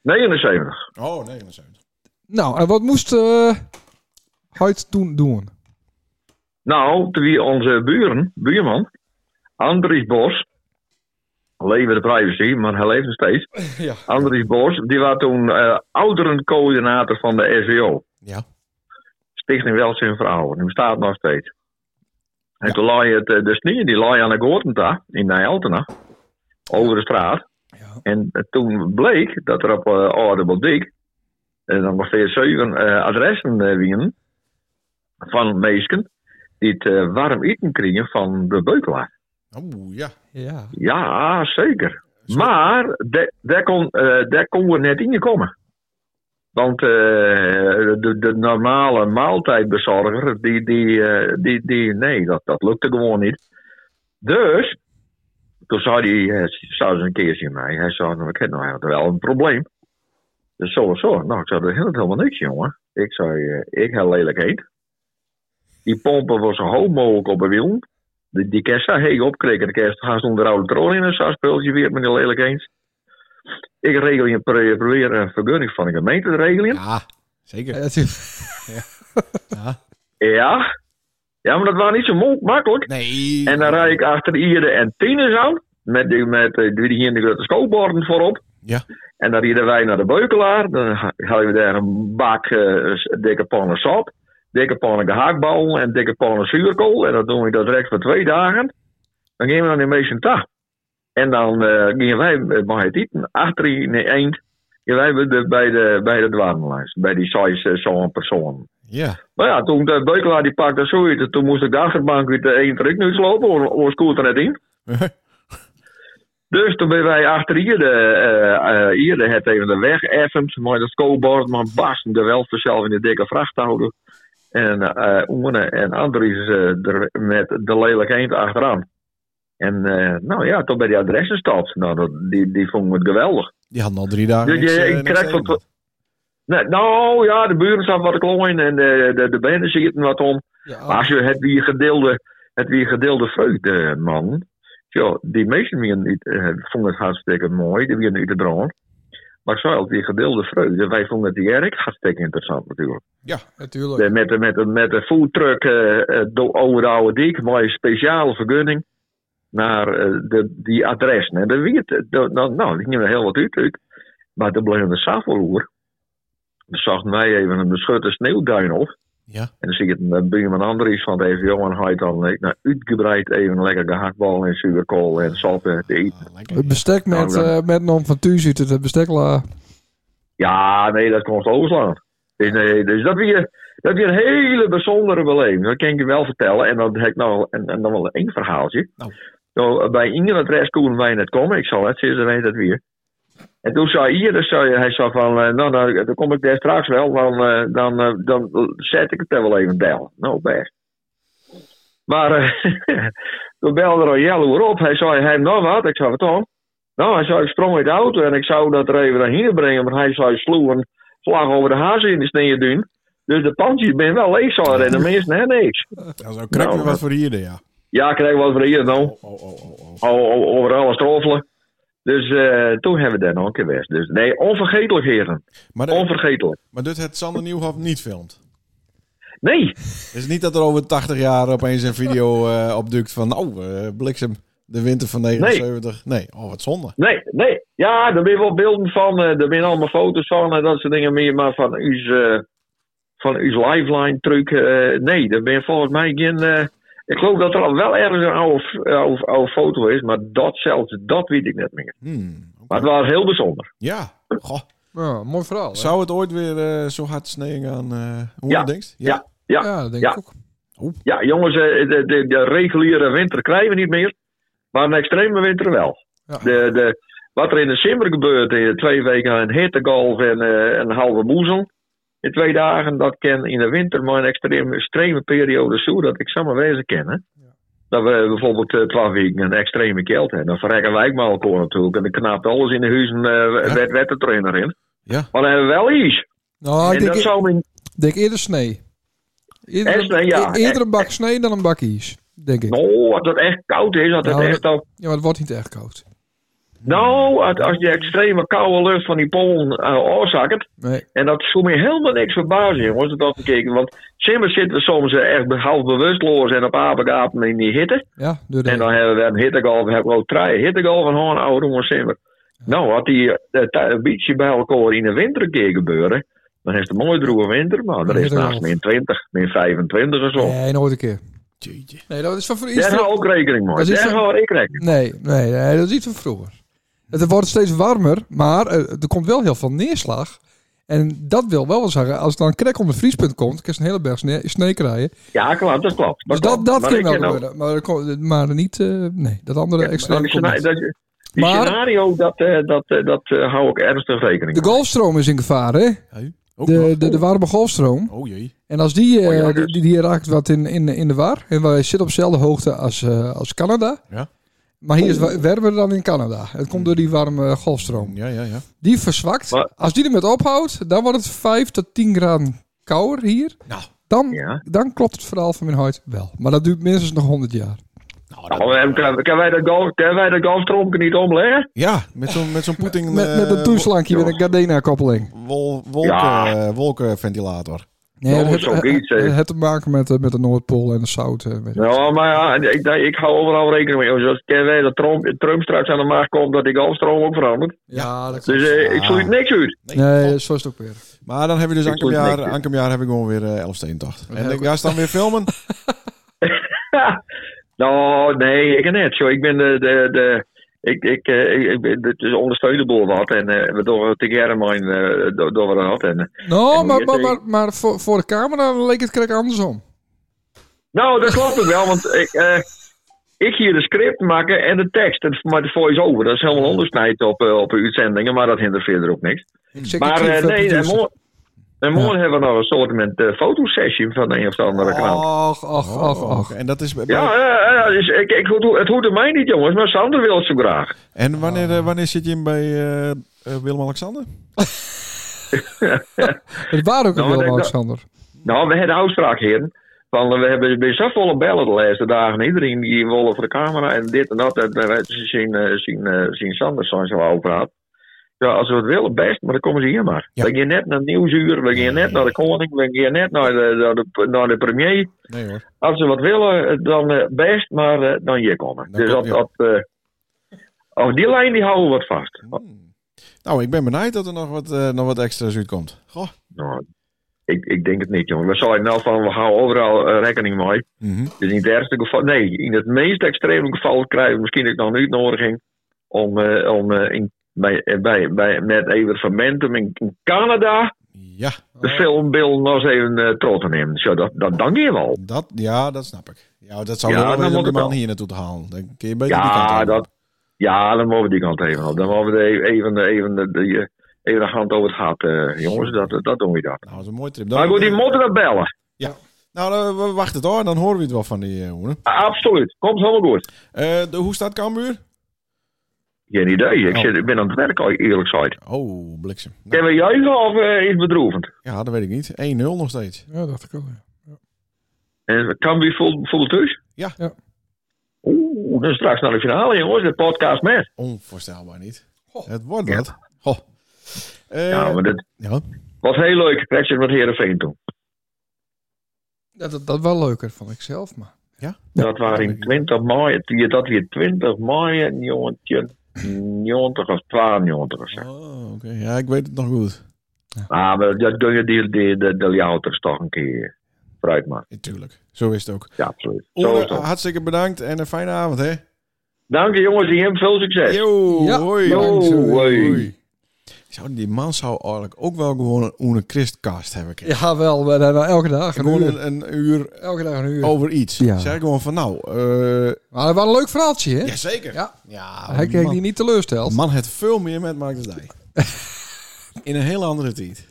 F: 79.
C: Oh, 79.
B: Nou, en wat moest eh Huid toen doen?
F: Nou, wie onze buren, buurman, Andries Bos, leven de privacy, maar hij leeft nog steeds.
B: Ja.
F: Andries Bos, die was toen eh, ouderencoördinator van de SWO.
C: Ja.
F: Stichting Welzijn voor Ouderen. Die bestaat nog steeds. En toen lag het, eh, de sneeuw die lag aan de Gortenta in Nijaltena, over de straat.
B: Ja.
F: En eh, toen bleek dat er op eh Oudenbaldik eh, dan ongeveer zeven eh, adressen eh, waren van mensen die het eh, warm eten kregen van de beukelaar.
C: Oeh, ja.
B: Ja.
F: Ja, zeker.
D: Maar da- daar kon, eh, daar kon we net in komen. Want eh, de, de normale maaltijdbezorger, die, die, eh, die, die, nee, dat, dat lukte gewoon niet. Dus, toen zei hij, eh, zou ze een keer zien mij. Hij zei, nou, ik heb nou eigenlijk wel een probleem. Dus zo en zo. Nou, ik zei, dat helpt helemaal niks, jongen. Ik zei, eh, ik heb lelijk heet. Die pompen was zo hoog mogelijk op de wielen. Die, die kerst zei, hey, opkrikken de kerst. Gaan ze onder de oude troon in en zo'n speeltje weer met die lelijk eens. Ik regel je, pro- probeer een vergunning van de gemeente te regelen.
C: Ja, zeker.
B: Ja, dat is-
D: Ja. Ja, maar dat was niet zo mo- makkelijk.
C: Nee.
D: En dan rijd ik achter iedere en tieners aan. Met, die- met eh, die hier de grote schoolborden voorop.
C: Ja.
D: En dan reden wij naar de Beukelaar. Dan ha- hadden we daar een bak eh, s- dikke pannen sap. Dikke pannen gehaakbal en dikke pannen zuurkool. En dan doen we dat direct voor twee dagen. Dan gingen we naar de Meesentag. En dan eh, gingen wij, eh, mag het eten, achter in de eind. Gingen wij bij de, bij de, bij de dwarrenlijst. Bij die size eh, zo'n persoon.
C: Ja.
D: Maar ja, toen de Beukelaar die pakte zoiets, toen moest ik de achterbank weer de één terug nu slopen, ons- ons koelt er net in. Dus toen ben wij achter hier, de, eh, eh, hier de, het even de weg effend, maar de scorebord, maar bas, de welste zelf in de dikke vrachthouder. En eh Oene en Andries eh, er met de lelijk eend achteraan. En eh, nou ja, toen bij die adressen stapt, nou, dat, die, die vonden het geweldig.
C: Die hadden al drie dagen.
D: Ja,
C: niks,
D: ja,
C: eh,
D: ik
C: niks
D: krijg
C: te eten.
D: wat- Nee, nou ja, de buren staan wat klein en de, de, de benen zitten wat om. Maar
B: ja,
D: als je het weer gedeelde, het weer gedeelde vreugde, man. Tja, die meesten weer niet, eh, vonden het hartstikke mooi, die weer niet te droom. Maar ik zei al, die gedeelde vreugde, wij vonden het die erg hartstikke interessant natuurlijk.
B: natuurlijk.
D: De- met, de, met, de, met de foodtruck eh, eh, door over de oude dik, mooie speciale vergunning naar eh, de, die adressen. En dan weet, dat- dat- nou, die gingen we heel wat uit. uit. Maar toen bleef de saffeloer. Dan zag mij even een beschutte sneeuwduin op.
C: Ja.
D: En dan zie ik het een buurman Andries van de EVO en hij dan eh, nou, uitgebreid even lekker gehaktbal en zuurkool en sap en te eten.
C: Ah, lekker.
B: Het bestek met,
D: Nou,
B: eh met Nom van Tuur zit het, het bestek la.
D: Ja, nee, dat komt overslaan. Dus, nee, dus dat weer, dat weer een hele bijzondere beleving. Dat kan ik je wel vertellen. En dan heb ik nog en, en dan wel één verhaaltje.
C: Nou.
D: Zo, eh, bij Ingen adres konden wij net komen. Ik zal het sinds weet dat weer. En toen zei hier, dus zei, hij zei van, eh, nou, nou, dan kom ik daar straks wel, dan, eh, dan, eh, dan zet ik het er wel even bel. Nou, best. Maar eh, toen belde Royale weer op. Hij zei, hij nog wat? Ik zei, wat dan? Nou, hij zei, ik sprong uit de auto en ik zou dat er even naar hier brengen. Maar hij zei, sloeg een vlag over de hazen in de sneeuw doen. Dus de pandjes ben wel leeg, zou er en de mensen hebben niks.
C: Ja, zo krijg je
D: Nou,
C: wat voor hier, ja.
D: Ja, ik krijg wat van hier nou.
C: eh, Oh, oh, oh, oh.
D: O- o- Overal een stroffelen. Dus eh, toen hebben we daar nog een keer geweest. Dus nee, onvergetelijk, heren.
C: Maar, dat-
D: Onvergetelijk.
C: maar dit het Sander Nieuwhof niet filmt.
D: Nee,
C: Het is niet dat er over 80 jaar opeens een video eh, opduikt van... Oh, eh, bliksem, de winter van 79. Nee. oh, wat zonde.
D: nee, nee. Ja, er zijn wel beelden van. eh, Er zijn allemaal foto's van en dat soort dingen meer. Maar van uw, eh, van uw lifeline truc. eh, nee, er ben volgens mij geen... eh, ik geloof dat er al wel ergens een oude, f- eh, oude, oude foto is. Maar dat zelfs, dat weet ik net meer.
C: Hmm, oké.
D: Maar het was heel bijzonder.
C: Ja, goh.
B: Ja, mooi verhaal. hè?
C: Zou het ooit weer eh, zo hard sneeuwen aan eh hoe
D: Ja,
C: je denkt?
D: ja. Ja,
B: Ja, dat denk
D: ja.
B: ik ook.
D: Ja, jongens, eh, de, de, de reguliere winter krijgen we niet meer. Maar een extreme winter wel.
B: Ja.
D: De, de, wat er in december gebeurt, in de twee weken een hittegolf en eh, een halve boezem. In twee dagen, dat kan in de winter maar een extreme, extreme periode zo dat ik zomaar wezen ken. Hè? Dat we bijvoorbeeld eh, twaalf weken een extreme keld hebben. Dan verrekken wij maar elkaar natuurlijk. En dan knapt alles in de huizen eh
C: Ja.
D: wet, wet de trainer in.
C: Ja.
D: Maar dan hebben we wel iets.
B: Nou, ik
D: en
B: denk,
D: dat zou men
B: ik denk eerder snee. Eerder,
D: En snee, ja.
B: e- eerder een bak snee dan een bak ijs, denk ik.
D: Nou, als het echt koud is, als het
B: Nou,
D: echt al
B: Ja, maar het wordt niet echt koud.
D: Nou, als- als die extreme koude lucht van die polen eh oorzaakt.
B: Nee.
D: En dat zou me helemaal niks verbazen, jongens. Dat dat bekeken. Want soms zitten we soms eh, echt half bewusteloos en op apengapen in die hitte.
B: Ja, door de
D: En dan hebben we een hittegolf. We hebben ook drie hittegolven gewoon oude jongens simmer. Nou, had die eh, tij- een beetje bij elkaar in de winter een keer gebeuren. Dan is het een mooi droge winter. Maar er is
B: Hittegolf.
D: naast min 20, min 25 en zo.
B: Nee, nooit een keer.
C: Jeetje.
B: Nee, dat is van voor iets.
D: Daar
B: te-
D: hou ik rekening
B: Dat
D: mee.
B: is
D: Daar
B: iets van-
D: hou ik rekening mee.
B: Nee, nee, nee, dat is iets van vroeger. Het wordt steeds warmer, maar eh, er komt wel heel veel neerslag. En dat wil wel wel zeggen, als het dan krek om het vriespunt komt, kun je een hele berg sne- snee krijgen.
D: Ja, klopt, dat klopt.
B: Dus dat,
D: klopt.
B: dat
D: Maar
B: kan
D: ik
B: wel
D: ken ook-
B: gebeuren. Maar, er komt- maar niet, eh, nee, dat andere
D: Ja,
B: extra
D: maar nou
B: komt
D: dat
B: niet.
D: is- dat is- Die
B: Maar-
D: scenario, dat, eh, dat, eh, dat eh, hou ik ernstig rekening
B: De
D: mee.
B: golfstroom is in gevaar, hè?
C: Ook
B: De,
C: nog.
B: de, de warme golfstroom.
C: Oh jee.
B: En als die, eh,
D: Oh ja,
B: die,
D: dus.
B: die, die raakt wat in, in, in de war. En wij zitten op dezelfde hoogte als, eh, als Canada.
C: Ja.
B: Maar hier is wa- werber dan in Canada. Het komt door die warme golfstroom.
C: Ja, ja, ja.
B: Die verzwakt.
D: Maar-
B: Als die er met ophoudt, dan wordt het 5 tot 10 graden kouder hier.
C: Nou.
B: Dan,
D: Ja.
B: dan klopt het verhaal van mijn huid wel. Maar dat duurt minstens nog 100 jaar.
C: Nou, dat-
D: Nou, eh, kan, kan wij dat golf, kan wij dat golftrompje niet omleggen?
C: ja, met zo'n met zo'n Poetin...
B: Met, met een
C: eh,
B: toeslankje, met een
D: joh.
B: Gardena-koppeling.
C: wol- wolken,
D: Ja.
C: eh, wolkenventilator.
B: Nee,
D: dat
B: het,
D: is ook iets, hè.
B: het, het te maken met, eh, met de Noordpool en de zout. eh, weet ik.
D: Nou, maar ja, ik, ik, ik hou overal rekening mee. Zoals kan wij dat Trump, Trump straks aan de macht komt, dat die golfstroom ook verandert.
B: Ja, dat klopt.
D: Dus eh, ik sluit niks uit.
B: Nee, zo is het ook weer.
C: Maar dan hebben we dus
D: Ik
C: aankomend
D: word
C: jaar,
D: niks.
C: aankomend jaar heb ik gewoon weer eh, Elfsteentocht. En
B: heb
C: ik ga dan weer filmen.
D: Nou, nee, ik net. Zo, ik ben de. de, de ik, ik, eh, ik, ik ben- het is ondersteunend door wat en eh, we doen het tegen mijn eh, door, door wat en eh,
B: Nou,
D: En
B: maar,
D: hoe
B: maar,
D: heet
B: maar, maar voor, voor de camera leek het krek andersom.
D: nou dat klopt ook wel want ik, eh, ik hier de script maken en de tekst en maar de voice over dat is helemaal ondersnijd op, eh, op uitzendingen maar dat hindert verder ook niks
B: Ik zeg
D: maar
B: het
D: eh,
B: even, dus-
D: nee en
B: producer.
D: morgen, en morgen hebben we nog een soort met eh, fotosessie van een of de andere kanaal
B: Och, och, och,
C: Oh,
B: och.
C: En dat is... bij-
D: ja, eh, eh, dus ik, ik, het ho- het hoeft mij niet jongens maar Sander wil het zo graag
C: En wanneer, eh, wanneer zit je in bij eh, eh, Willem-Alexander?
B: Het waren ook een
D: Nou, maar
B: Willem
D: ik-
B: Alexander.
D: Nou, we hebben uitspraak heren. Want we hebben bij zoveel bellen de laatste dagen. Iedereen die wil voor de camera en dit en dat. En eh, wij zien, eh, zien, eh, zien Sanders zoals je al praat. Ja, als we het willen, best, maar dan komen ze hier maar.
C: Ja.
D: We gaan net naar het nieuwsuur, we gaan net naar de koning, we gaan net naar de, naar de, naar de premier.
C: Nee hoor.
D: Als ze wat willen, eh, dan eh, best, maar eh, dan hier komen.
C: Dan
D: dus
C: kom-
D: dat,
C: ja.
D: dat, eh, op die lijn die houden we wat vast.
C: Hmm. Nou, ik ben benijd dat er nog wat, eh, nog wat extra's uitkomt. Goh.
D: Nou, ik, ik denk het niet, jongen. We zouden nou van, we houden overal eh, rekening mee.
C: Mhm.
D: Dus in het ergste geval, nee, in het meest extreme geval krijgen we misschien ook nog een uitnodiging om, eh, om eh, in, bij, eh, bij, bij, met even Momentum in, in Canada
C: Ja,
D: de film Bill nog eens even eh trots te nemen. Zo, dat, dat dank je wel.
C: dat, ja, dat snap ik. Ja, dat zou
D: Ja,
C: wel
D: dan
C: wezen om
D: moet
C: die
D: het
C: man
D: wel.
C: hier naartoe te halen. Dan kun je beter die kant
D: Ja,
C: uit.
D: dat, ja, dan mogen we die kant even op. Dan mogen we de- e-, even, even, de- die, eh, even de hand over het hart, eh, jongens. Dat, dat doen we dat.
C: Nou, dat is een mooie trip. Dan-
D: Maar goed, die moeten dan bellen.
C: Nou, eh, we wachten het hoor. Dan horen we het wel van die eh, hoenen.
D: Absoluut. Komt helemaal goed.
C: Eh, de, hoe staat Cambuur?
D: Geen idee. Ik,
C: Oh.
D: zit, ik ben aan het werk, eerlijk gezegd.
C: Oh, bliksem. Nou,
D: Kennen we juichen of eh, is het bedroevend?
C: ja, dat weet ik niet. 1-0 nog steeds.
B: Ja, dacht ik ook. ja.
D: En Cambuur vol, vol thuis?
C: Ja.
B: Ja.
D: Oeh, dan straks naar de finale, jongens. De podcast met.
C: Onvoorstelbaar niet. Het wordt wat. Goh. Eh,
D: ja, maar dat
C: ja.
D: was heel leuk. Wedstrijd met Heerenveen toen.
B: Ja, dat, dat wel leuker, vond ik zelf. Maar.
D: dat waren in 20 mei. die- Dat weer 20 mei, en jongetje. 90 of 92 of zo.
C: Oh, oké. Ja, ik weet het nog goed.
D: Ah, maar dat kun je die, die, de, de Ljouters toch een keer vooruit maken.
C: Natuurlijk. Zo is het ook.
D: Ja, absoluut. Zo
C: Oene,
D: is dat.
C: hartstikke bedankt en een fijne avond, hè?
D: Dank je, jongens. Die hem veel succes.
C: Yo,
B: Ja.
C: hoi.
D: Yo,
C: Dank je.
D: hoi.
C: Zou, die man zou eigenlijk ook wel gewoon een Oene Christkast hebben kunnen.
B: Ja, wel. Maar, dan elke dag een
C: Gewoon
B: uur.
C: een, een uur
B: Elke dag een uur.
C: over iets.
B: Ja.
C: Zeg gewoon van nou, eh
B: Maar dat was een leuk verhaaltje, hè?
C: jazeker.
B: Ja.
C: ja
B: Hij
C: man,
B: kreeg die niet teleursteld.
C: man het veel meer met Mark de Dijk. In een hele andere tijd.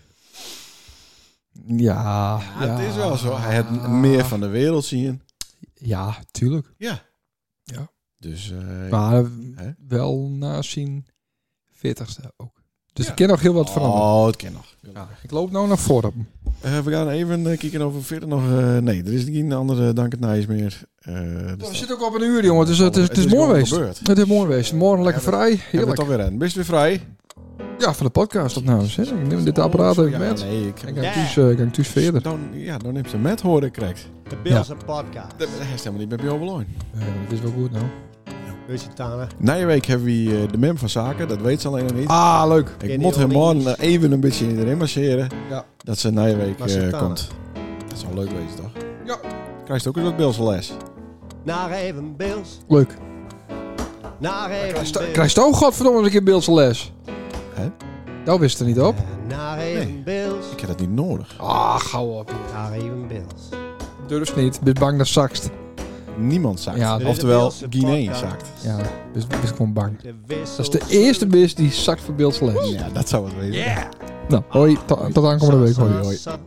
B: Ja,
C: Ja, Het is wel zo. Hij had meer van de wereld zien.
B: Ja, tuurlijk.
C: Ja.
B: Ja.
C: Dus eh
B: Maar
C: Hè?
B: wel na zien 40ste ook. Dus
C: Ja.
B: ik ken nog heel wat veranderen.
C: oh, het kan nog.
B: Ja, ik loop nou naar voren.
C: Eh, we gaan even eh, kijken of we verder nog... eh, nee, er is geen andere Dank het Nijs meer. Eh,
B: We
C: er staat-
B: zitten ook op een uur, jongen. Dus het is, het is, mooi
C: gewoon
B: geweest.
C: gebeurd.
B: Het is mooi geweest. Morgen lekker
C: Hebben-
B: vrij.
C: Hebben we
B: Heerlijk.
C: het alweer aan. Best weer vrij.
B: Ja, van de podcastopnames. Hè. nou Ik neem dit apparaat even
C: Ja,
B: met.
C: nee, ik
B: Ik
C: heb...
B: ga thuis, eh, ik ga thuis verder.
C: Dan, ja, dan heb ze met horen krijgt.
A: De Bills en podcast.
C: Dat is helemaal niet bij Bjorn
B: Eh, dit is wel goed nou.
A: Weet je, Tana?
C: Na je week hebben we eh, de mem van zaken. Dat weet ze alleen nog niet.
B: Ah, leuk.
C: ik moet hem morgen eh, even een beetje erin masseren.
B: Ja.
C: Dat ze na je week eh,
A: Massatana.
C: komt. Dat zou leuk wezen, toch?
B: Ja.
C: Krijgt ook eens wat Beelse les.
A: Naar even Bills.
B: Leuk.
A: Naar even
B: Sta-
A: Bills.
B: Krijg je ook godverdomme eens een keer Beeldse les?
C: Hè?
B: Dat wist er niet op.
A: Eh, Naar even Bills.
C: Ik heb dat niet nodig.
B: Ah, gauw op.
A: Naar even Bills.
B: Durf niet. Ben bang dat zakst.
C: Niemand zakt.
B: Ja,
C: Oftewel,
A: Dit is de
C: Guinea
A: podcast.
C: zakt.
B: Ja, dus ik was gewoon bang.
A: De
B: Dat is de eerste bis die zakt voor Beeldsles.
C: Ja, dat zou het wezen.
B: Nou, hoi, to- tot aankomende week. Hoi, hoi.
A: hoi.